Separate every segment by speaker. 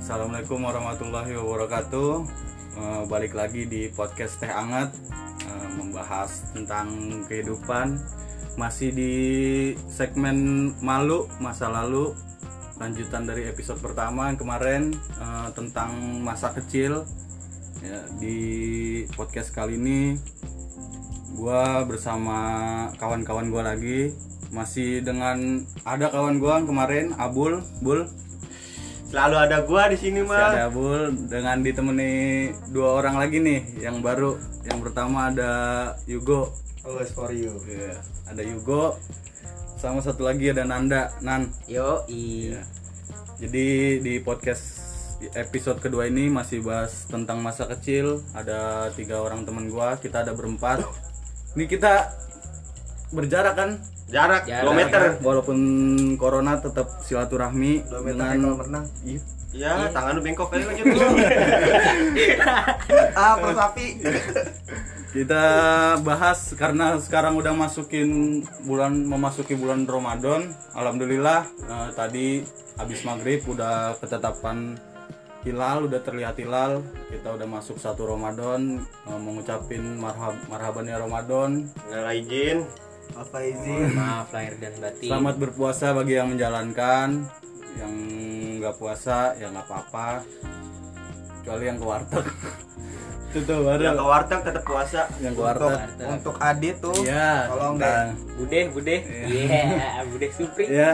Speaker 1: Assalamualaikum warahmatullahi wabarakatuh. Eh, balik lagi di podcast Teh Anget eh, membahas tentang kehidupan masih di segmen malu masa lalu lanjutan dari episode pertama yang kemarin eh, tentang masa kecil Ya, di podcast kali ini gua bersama kawan-kawan gua lagi masih dengan ada kawan gua yang kemarin Abul Bul
Speaker 2: Selalu ada gua di
Speaker 1: Si
Speaker 2: sini mah.
Speaker 1: ada Abul dengan ditemani dua orang lagi nih yang baru. Yang pertama ada Yugo.
Speaker 3: Oh,
Speaker 2: Always for you.
Speaker 1: Iya, Ada Yugo. Sama satu lagi ada Nanda, Nan.
Speaker 4: Yo, i.
Speaker 1: Iya. Jadi di podcast episode kedua ini masih bahas tentang masa kecil. Ada tiga orang teman gua, kita ada berempat. Ini kita berjarak kan?
Speaker 2: Jarak,
Speaker 4: Jarak.
Speaker 2: 2 meter.
Speaker 1: Walaupun corona tetap silaturahmi dengan
Speaker 3: renang.
Speaker 1: Iya.
Speaker 2: Ya, tangan lu bengkok kali lanjut.
Speaker 3: Ah, persapi.
Speaker 1: kita bahas karena sekarang udah masukin bulan memasuki bulan Ramadan alhamdulillah eh, tadi habis maghrib udah ketetapan hilal udah terlihat hilal kita udah masuk satu Ramadan eh, mengucapin marhab marhaban ya Ramadan
Speaker 2: Nggak izin.
Speaker 3: Apa izin?
Speaker 4: Maaf lahir dan batin.
Speaker 1: selamat berpuasa bagi yang menjalankan yang nggak puasa ya nggak apa-apa kecuali yang ke warteg itu tuh
Speaker 2: Udah ke
Speaker 1: baru
Speaker 2: warteg tetap puasa.
Speaker 1: yang ke
Speaker 3: Untuk,
Speaker 1: warteg
Speaker 3: untuk Adit tuh.
Speaker 1: Iya,
Speaker 3: Tolong
Speaker 1: tentang-
Speaker 3: deh.
Speaker 4: Budeh, budeh. Iya, budeh supri.
Speaker 1: Ya,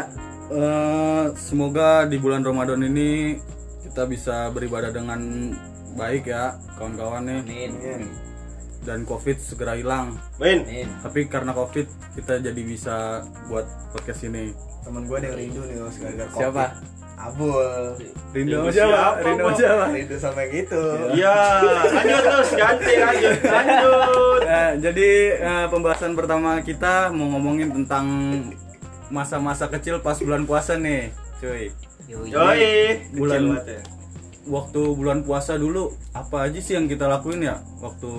Speaker 1: eh, semoga di bulan Ramadan ini kita bisa beribadah dengan baik ya, kawan-kawan nih.
Speaker 4: Amin.
Speaker 1: Dan Covid segera hilang.
Speaker 2: Win.
Speaker 4: Amin.
Speaker 1: Tapi karena Covid kita jadi bisa buat podcast ini.
Speaker 3: Temen gue ada yang rindu nih Mas gara-gara Covid.
Speaker 1: Siapa?
Speaker 3: Abul.
Speaker 1: Rindu
Speaker 2: Rindu
Speaker 1: siapa?
Speaker 2: siapa,
Speaker 1: Rindu
Speaker 2: Bang?
Speaker 1: siapa?
Speaker 3: Rindu sampai gitu.
Speaker 2: Iya, lanjut terus ganti lanjut lanjut.
Speaker 1: Eh, jadi eh, pembahasan pertama kita mau ngomongin tentang masa-masa kecil pas bulan puasa nih, cuy.
Speaker 4: Yoi.
Speaker 2: Yoi.
Speaker 1: Bulan-
Speaker 2: Kecil banget ya.
Speaker 1: Waktu bulan puasa dulu apa aja sih yang kita lakuin ya waktu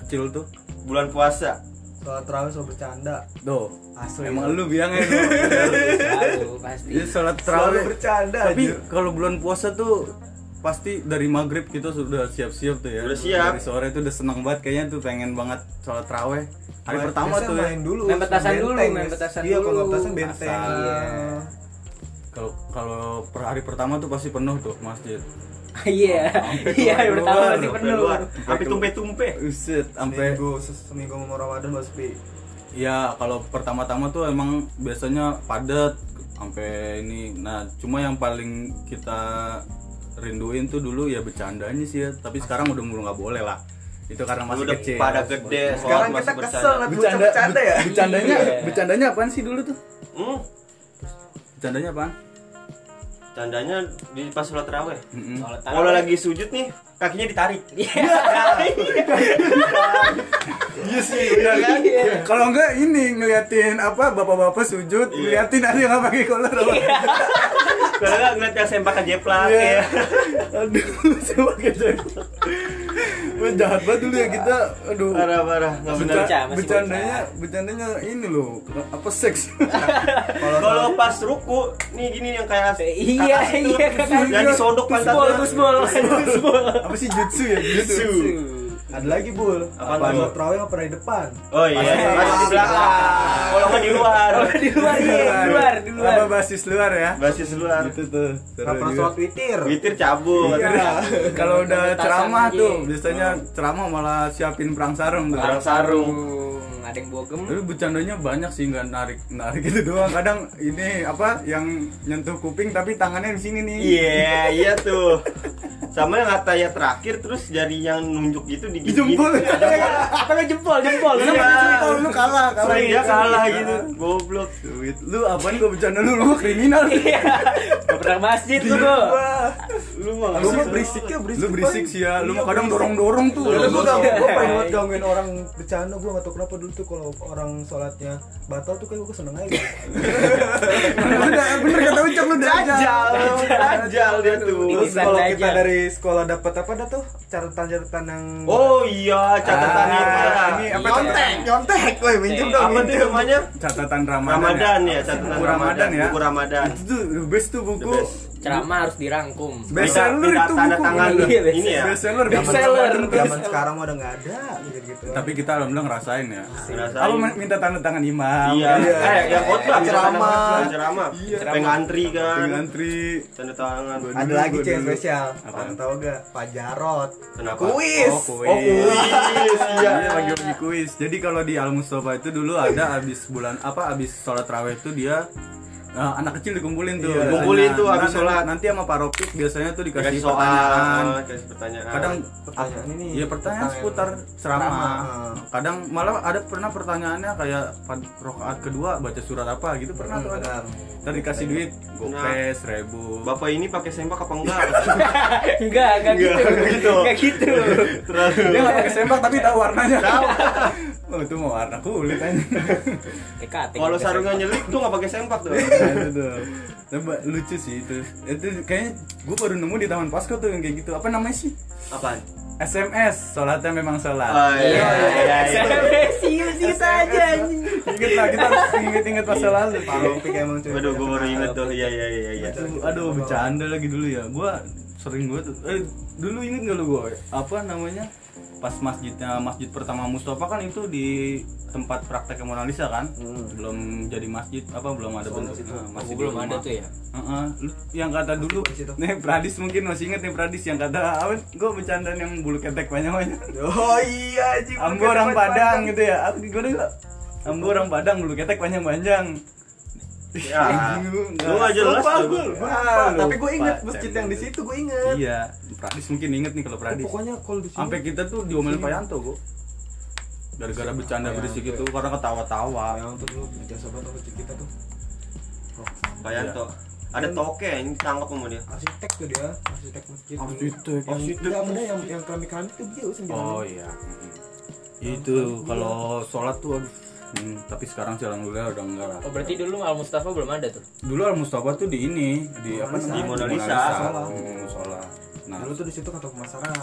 Speaker 1: kecil tuh?
Speaker 2: Bulan puasa.
Speaker 3: Soal terawih soal bercanda.
Speaker 1: Doh,
Speaker 3: Asli.
Speaker 1: emang lu bilangnya lu.
Speaker 4: Selalu pasti.
Speaker 1: Jadi Iya, sholat
Speaker 3: Selalu
Speaker 1: terawih.
Speaker 3: bercanda.
Speaker 1: Tapi
Speaker 3: anjir.
Speaker 1: kalau bulan puasa tuh pasti dari maghrib kita sudah siap-siap tuh ya.
Speaker 2: Udah siap.
Speaker 1: Dari sore tuh udah seneng banget kayaknya tuh pengen banget sholat terawih. Hari
Speaker 3: Main-
Speaker 1: pertama
Speaker 3: biasanya
Speaker 1: tuh ya.
Speaker 3: main dulu.
Speaker 4: Main petasan
Speaker 3: benteng,
Speaker 4: dulu,
Speaker 3: guys.
Speaker 4: main petasan
Speaker 3: Iya, kalau
Speaker 4: dulu.
Speaker 3: nggak petasan benteng.
Speaker 1: Asal.
Speaker 3: Iya.
Speaker 1: Kalau kalau per hari pertama tuh pasti penuh tuh masjid.
Speaker 4: Iya.
Speaker 1: Sampai
Speaker 4: Iya,
Speaker 1: keluar,
Speaker 4: pertama
Speaker 1: keluar,
Speaker 4: masih
Speaker 1: sampai
Speaker 4: penuh.
Speaker 2: Oh, Keluar. Tapi tumpe-tumpe.
Speaker 1: Uset, sampai
Speaker 3: Eh, Seminggu, se- seminggu mau Ramadan baru sepi.
Speaker 1: ya kalau pertama-tama tuh emang biasanya padat sampai ini nah cuma yang paling kita rinduin tuh dulu ya bercandanya sih ya tapi sekarang udah mulai nggak boleh lah itu karena masih
Speaker 2: Udah
Speaker 1: kecil
Speaker 2: pada gede. sholat
Speaker 3: Sekarang
Speaker 2: masih
Speaker 3: Kan kita
Speaker 2: bercanda.
Speaker 3: kesel liat bocah bercanda ya.
Speaker 1: Eh, bercandanya
Speaker 4: Iya.
Speaker 1: bercandanya apaan sih dulu tuh
Speaker 2: Hmm.
Speaker 1: bercandanya apaan
Speaker 2: Tandanya di pas sholat tarawih.
Speaker 1: Mm-mm.
Speaker 4: Sholat tarawih.
Speaker 2: Kalau lagi sujud nih, kakinya ditarik.
Speaker 4: Iya.
Speaker 1: iya sih benar kan kalau enggak ini ngeliatin apa bapak-bapak sujud
Speaker 2: Iya.
Speaker 1: ngeliatin ada yang nggak pakai kolor apa
Speaker 2: Kalau nggak ngeliat yang sembakan jeplak
Speaker 1: Iya.
Speaker 2: ya.
Speaker 1: aduh coba kita Wah, jahat banget dulu ya kita aduh
Speaker 2: Parah-parah, nggak benar.
Speaker 1: Berca-
Speaker 4: bocah, masih
Speaker 1: bercandanya bercandanya ini loh apa seks
Speaker 2: Kalau pas ruku, nih gini yang kayak
Speaker 4: Iya,
Speaker 2: kakak situ,
Speaker 4: iya, kakak
Speaker 2: yang
Speaker 1: situ.
Speaker 2: disondok
Speaker 4: Pusbol,
Speaker 2: pantatnya.
Speaker 4: pusbol, pusbol.
Speaker 1: apa sih jutsu ya jutsu
Speaker 3: Ada lagi bul.
Speaker 2: Apaan,
Speaker 3: Pas
Speaker 2: Bul?
Speaker 3: sholat terawih nggak pernah di depan.
Speaker 2: Oh iya,
Speaker 1: Pas-
Speaker 2: masih di belakang. Kalau nggak di luar,
Speaker 4: Di luar, iya, di luar, di luar.
Speaker 1: apa basis luar ya
Speaker 2: basis luar.
Speaker 1: itu tuh seru
Speaker 3: Nggak pernah
Speaker 1: juga.
Speaker 3: sholat witir.
Speaker 2: Witir cabut.
Speaker 1: Iya. kalau udah
Speaker 4: Pementasan
Speaker 1: ceramah
Speaker 4: aja.
Speaker 1: tuh biasanya ceramah malah siapin perang sarung tuh
Speaker 2: Perang sarung.
Speaker 4: Ada yang bogem.
Speaker 1: tapi bercandanya banyak sih nggak narik narik gitu doang kadang ini apa yang nyentuh kuping tapi tangannya di sini nih
Speaker 2: Iya, iya tuh. Sama yang kata ya terakhir terus jari yang nunjuk gitu di
Speaker 1: Di jempol
Speaker 4: Apa lo jempol, jempol?
Speaker 2: Iya.
Speaker 4: Jempol.
Speaker 1: Jempol, Oh, lu kalah Iya, kalah
Speaker 2: Sering dia kalah gitu. Goblok.
Speaker 1: Duit. lu apaan gue bercanda lu lu mah kriminal
Speaker 4: Iya. Gak pernah ke masjid lu.
Speaker 2: Iya.
Speaker 4: Bu.
Speaker 3: Wah.
Speaker 2: Lu mah
Speaker 3: Lu mah berisik ya, berisik.
Speaker 1: lu berisik
Speaker 3: Bang.
Speaker 1: sih ya lu
Speaker 3: Iya,
Speaker 1: mah kadang
Speaker 3: berisik. Iya,
Speaker 1: dorong dorong tuh
Speaker 3: Dulu gue
Speaker 2: Dorong-dorong.
Speaker 3: gangguin, gue pengen banget gangguin orang bercanda gue gak tau kenapa dulu tuh kalau orang sholatnya batal tuh kayak gue seneng aja
Speaker 1: bener bener kata ucap lu
Speaker 2: Dajjal,
Speaker 1: dajal
Speaker 2: dajjal dia tuh.
Speaker 3: Terus
Speaker 4: Titipan
Speaker 3: kalau
Speaker 4: aja.
Speaker 3: kita dari sekolah dapat apa dah tuh catatan-catatan yang
Speaker 2: Oh iya, catatan
Speaker 1: Ah,
Speaker 2: yang
Speaker 1: ini apa
Speaker 3: nyontek nyontek woi minjem dong
Speaker 2: apa tuh
Speaker 3: minjem.
Speaker 2: namanya?
Speaker 1: catatan ramadan,
Speaker 2: Ramadan ya, catatan
Speaker 1: Buku Ramadan ya.
Speaker 2: Buku Ramadan.
Speaker 1: itu tuh the best tuh buku
Speaker 2: The best.
Speaker 4: Ceramah harus dirangkum.
Speaker 2: Bisa minta tanda tangan
Speaker 4: buku. Iya,
Speaker 2: ini ya.
Speaker 1: bestseller
Speaker 3: Zaman
Speaker 4: Bestseller.
Speaker 3: sekarang- Zaman sekarang udah nggak ada gitu, gitu-gitu.
Speaker 1: tapi kita alhamdulillah ngerasain ya
Speaker 2: Ngerasain.
Speaker 1: aku min- minta tanda tangan imam kan?
Speaker 2: Iya.
Speaker 3: Iya.
Speaker 2: Eh, yang khotbah
Speaker 3: Ceramah.
Speaker 2: tanda tangan, ceramah.
Speaker 3: Iya.
Speaker 2: Pengen ngantri kan.
Speaker 1: Pengen antri
Speaker 2: Tanda tangan.
Speaker 3: ada lagi
Speaker 1: Dulu,
Speaker 3: cewek
Speaker 1: dulu.
Speaker 3: spesial.
Speaker 1: Apa?
Speaker 3: Pantau gak? Pak Jarot.
Speaker 2: Kenapa?
Speaker 3: Kuis.
Speaker 1: Oh, kuis.
Speaker 2: Oh, kuis. Iya.
Speaker 1: Iya, lagi lagi kuis. Jadi kalau di Al Mustafa itu dulu ada abis bulan apa abis sholat raweh itu dia eh, anak kecil dikumpulin tuh.
Speaker 3: Iya,
Speaker 1: biasanya.
Speaker 2: kumpulin tuh abis
Speaker 1: Nanti-
Speaker 2: sholat.
Speaker 1: Nanti sama Pak Ropik biasanya tuh dikasih
Speaker 2: Kasih
Speaker 1: pertanyaan.
Speaker 2: soal, kasih pertanyaan.
Speaker 1: Kadang
Speaker 3: Pertanyaan ini.
Speaker 1: Iya Nah, pertanyaan seputar
Speaker 3: ceramah.
Speaker 1: ceramah. ah. Kadang malah ada pernah pertanyaannya kayak pad rokaat kedua baca surat apa gitu pernah tuh ada.
Speaker 3: Benar.
Speaker 1: Ntar dikasih duit
Speaker 2: Benar.
Speaker 1: gopes seribu.
Speaker 2: Bapak ini pakai sempak apa enggak?
Speaker 4: Enggak, enggak gitu.
Speaker 2: Enggak gitu.
Speaker 4: Enggak gitu.
Speaker 2: Terlalu.
Speaker 1: Dia nggak pakai sembak tapi tahu warnanya. Oh itu mau warna kulit aja. Nah,
Speaker 4: TKT.
Speaker 2: Kalau sarungnya nyelik tuh nggak pakai sempak tuh.
Speaker 1: Nah, itu tuh. Coba lucu sih itu. Itu kayaknya gue baru nemu di Taman Pasco tuh yang kayak gitu. Apa namanya sih?
Speaker 2: Apaan?
Speaker 1: SMS, sholatnya memang
Speaker 2: Oh,
Speaker 1: sholat.
Speaker 2: iya, iya, iya.
Speaker 4: Serius kita aja anjing.
Speaker 1: Ingat lah kita harus inget-inget masa lalu.
Speaker 3: Pak Lopik emang cuy.
Speaker 2: Waduh, gue baru inget tuh. Iya, iya, iya, iya.
Speaker 1: Aduh, aduh bercanda lagi dulu ya. Gue sering gue tuh. Eh, dulu inget gak lu gue? Apa namanya? Pas masjidnya masjid pertama Mustafa kan itu di tempat praktek Mona Lisa kan? Belum jadi masjid apa belum ada bentuknya.
Speaker 4: Aku
Speaker 1: Masih di
Speaker 4: belum
Speaker 1: rumah.
Speaker 4: ada tuh ya.
Speaker 1: Heeh, lu- yang kata dulu
Speaker 3: Di situ.
Speaker 1: nih Pradis mungkin masih inget nih Pradis yang kata apa gue bercandaan yang bulu ketek banyak banyak
Speaker 3: Oh iya, Ji.
Speaker 1: ambo orang Padang gitu ya aku gue dulu ambo orang Padang bulu ketek panjang panjang
Speaker 2: Ya, lu nggak jelas
Speaker 1: lupa
Speaker 2: tuh.
Speaker 1: gue
Speaker 3: Wah, tapi gue inget
Speaker 1: Lupa,
Speaker 3: masjid
Speaker 1: ceng.
Speaker 3: yang di situ gue inget.
Speaker 1: iya Pradis mungkin inget nih kalau Pradis
Speaker 3: Pokoknya kalau di sini
Speaker 1: sampai kita tuh diomelin Payanto gue gara-gara bercanda berisik gitu karena ketawa-tawa
Speaker 3: Yang untuk lu jasa banget sama masjid kita tuh. Oh,
Speaker 2: Bayanto. Ada toke ini tangkap sama dia.
Speaker 3: arsitek tuh dia, arsitek masjid.
Speaker 1: Arsitek,
Speaker 3: Yang-
Speaker 2: arsitek.
Speaker 3: Yang ada yang yang keramik-keramik tuh dia sendiri.
Speaker 1: Oh iya. Itu kalau sholat tuh aduh. Hmm, tapi sekarang sih alhamdulillah udah enggak lah.
Speaker 4: Oh, berarti dulu Al Mustafa belum ada tuh.
Speaker 1: Dulu Al Mustafa tuh di ini, di apa
Speaker 3: Mona
Speaker 1: namanya? Di
Speaker 2: Lisa. Mona Lisa.
Speaker 1: Mona Lisa. Hmm, sholat. Nah,
Speaker 3: Dulu tuh di situ kantor pemasaran.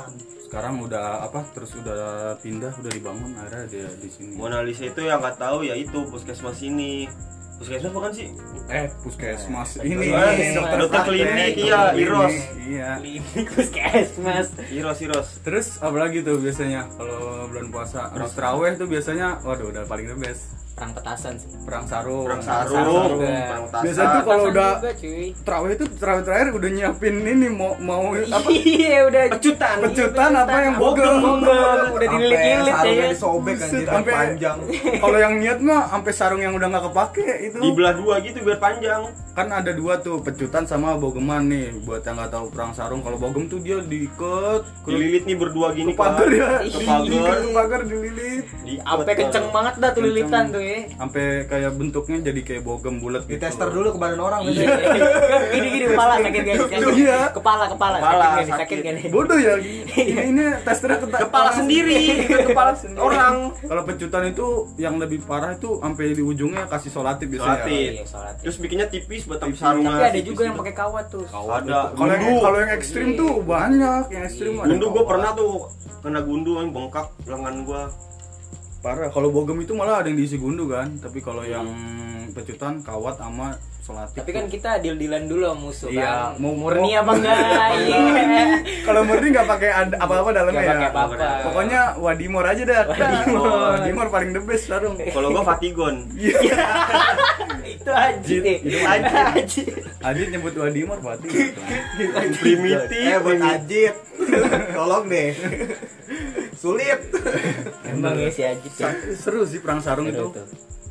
Speaker 1: sekarang udah apa? Terus udah pindah, udah dibangun ada di, di sini.
Speaker 2: Mona Lisa itu yang nggak tahu ya itu puskesmas ini. Puskesmas bukan sih?
Speaker 1: Eh, puskesmas ini.
Speaker 3: Puskesmas.
Speaker 1: dokter
Speaker 2: Dokter
Speaker 1: praktek,
Speaker 2: klinik,
Speaker 1: dokter
Speaker 2: iya,
Speaker 1: klinik.
Speaker 2: Iros.
Speaker 1: Iya.
Speaker 4: Klinik puskesmas.
Speaker 2: Iros, Iros.
Speaker 1: Terus apalagi tuh biasanya kalau bulan puasa, habis traweh tuh biasanya waduh udah paling the best.
Speaker 4: Perang petasan sih.
Speaker 1: Perang sarung.
Speaker 2: Perang sarung,
Speaker 1: juga.
Speaker 2: perang petasan.
Speaker 1: Biasanya tuh kalau
Speaker 4: Petasan
Speaker 1: udah
Speaker 4: juga, cuy.
Speaker 1: Terawih itu terawih terakhir udah nyiapin ini mau mau apa
Speaker 4: Iya udah
Speaker 2: Pecutan.
Speaker 1: pecutan apa yang bogel
Speaker 4: Bonggol, udah dililit-lilit ya.
Speaker 3: sarungnya
Speaker 4: ya.
Speaker 3: disobek anjir
Speaker 1: Buset,
Speaker 3: sampai
Speaker 1: sampai-
Speaker 3: panjang.
Speaker 1: kalau yang niat mah sampai sarung yang udah nggak kepake itu
Speaker 2: Dibelah dua gitu biar panjang.
Speaker 1: kan ada dua tuh pecutan sama bogeman nih buat yang nggak tahu perang sarung kalau bogem tuh dia diikat ke
Speaker 2: Dililit nih berdua gini
Speaker 1: ke pagar Iya. ya
Speaker 2: Ke
Speaker 1: Diikat
Speaker 2: pagar.
Speaker 1: ke pagar dililit
Speaker 2: Diikat.
Speaker 4: Sampai kenceng banget dah tuh lilitan tuh ya.
Speaker 1: sampai kayak bentuknya jadi kayak bogem bulat
Speaker 3: Di
Speaker 1: gitu
Speaker 3: tester dulu ke badan orang gitu.
Speaker 4: Gini gini kepala sakit gak nih? sakit.
Speaker 1: Iya.
Speaker 4: Kepala kepala
Speaker 2: Kepala
Speaker 4: sakit gak nih?
Speaker 2: sakit.
Speaker 4: sakit gak nih?
Speaker 1: bodoh ya
Speaker 4: Iya.
Speaker 1: ini ini testernya keta-
Speaker 2: Kepala sendiri, bukan kepala orang.
Speaker 1: Iya, kalau pecutan itu yang lebih parah itu sampai di ujungnya kasih solatif biasanya
Speaker 2: Solatif.
Speaker 4: Iya, sholat.
Speaker 2: Terus bikinnya tipis buat tapi sarungan.
Speaker 4: Tapi ada juga yang pakai kawat tuh.
Speaker 2: gitu. Ada.
Speaker 1: Kalau yang
Speaker 2: Gundu.
Speaker 1: kalau yang ekstrim tuh
Speaker 4: Iya.
Speaker 1: banyak yang ekstrim. ada
Speaker 2: Gundu gue
Speaker 1: kawat.
Speaker 2: pernah tuh kena gundu yang bengkak lengan gue.
Speaker 1: Parah. Kalau bogem itu malah ada yang diisi gundu kan. Tapi kalau yang pecutan kawat sama solatif.
Speaker 4: Tapi kan kita deal-dealan dulu sama musuh
Speaker 1: Iya,
Speaker 4: kan.
Speaker 1: mau-
Speaker 4: murni
Speaker 1: mau-
Speaker 4: apa enggak? Iya.
Speaker 1: kalau murni nggak pakai ad- apa-apa dalamnya
Speaker 4: Nggak
Speaker 1: ya.
Speaker 4: pakai apa-apa.
Speaker 1: Pokoknya wadimor aja dah.
Speaker 4: Wadimor.
Speaker 1: wadimor paling the best sarung.
Speaker 2: Kalau gue fatigon.
Speaker 4: Itu eh. aji deh.
Speaker 1: Itu
Speaker 4: Aji.
Speaker 1: Adit nyebut wadimor berarti.
Speaker 2: Primitif.
Speaker 3: Eh buat Ajit. Tolong deh. Sulit.
Speaker 4: Emang ya si Aji
Speaker 1: Iya.
Speaker 4: tuh.
Speaker 1: Seru sih perang sarung
Speaker 4: Seru
Speaker 1: itu.
Speaker 4: tuh.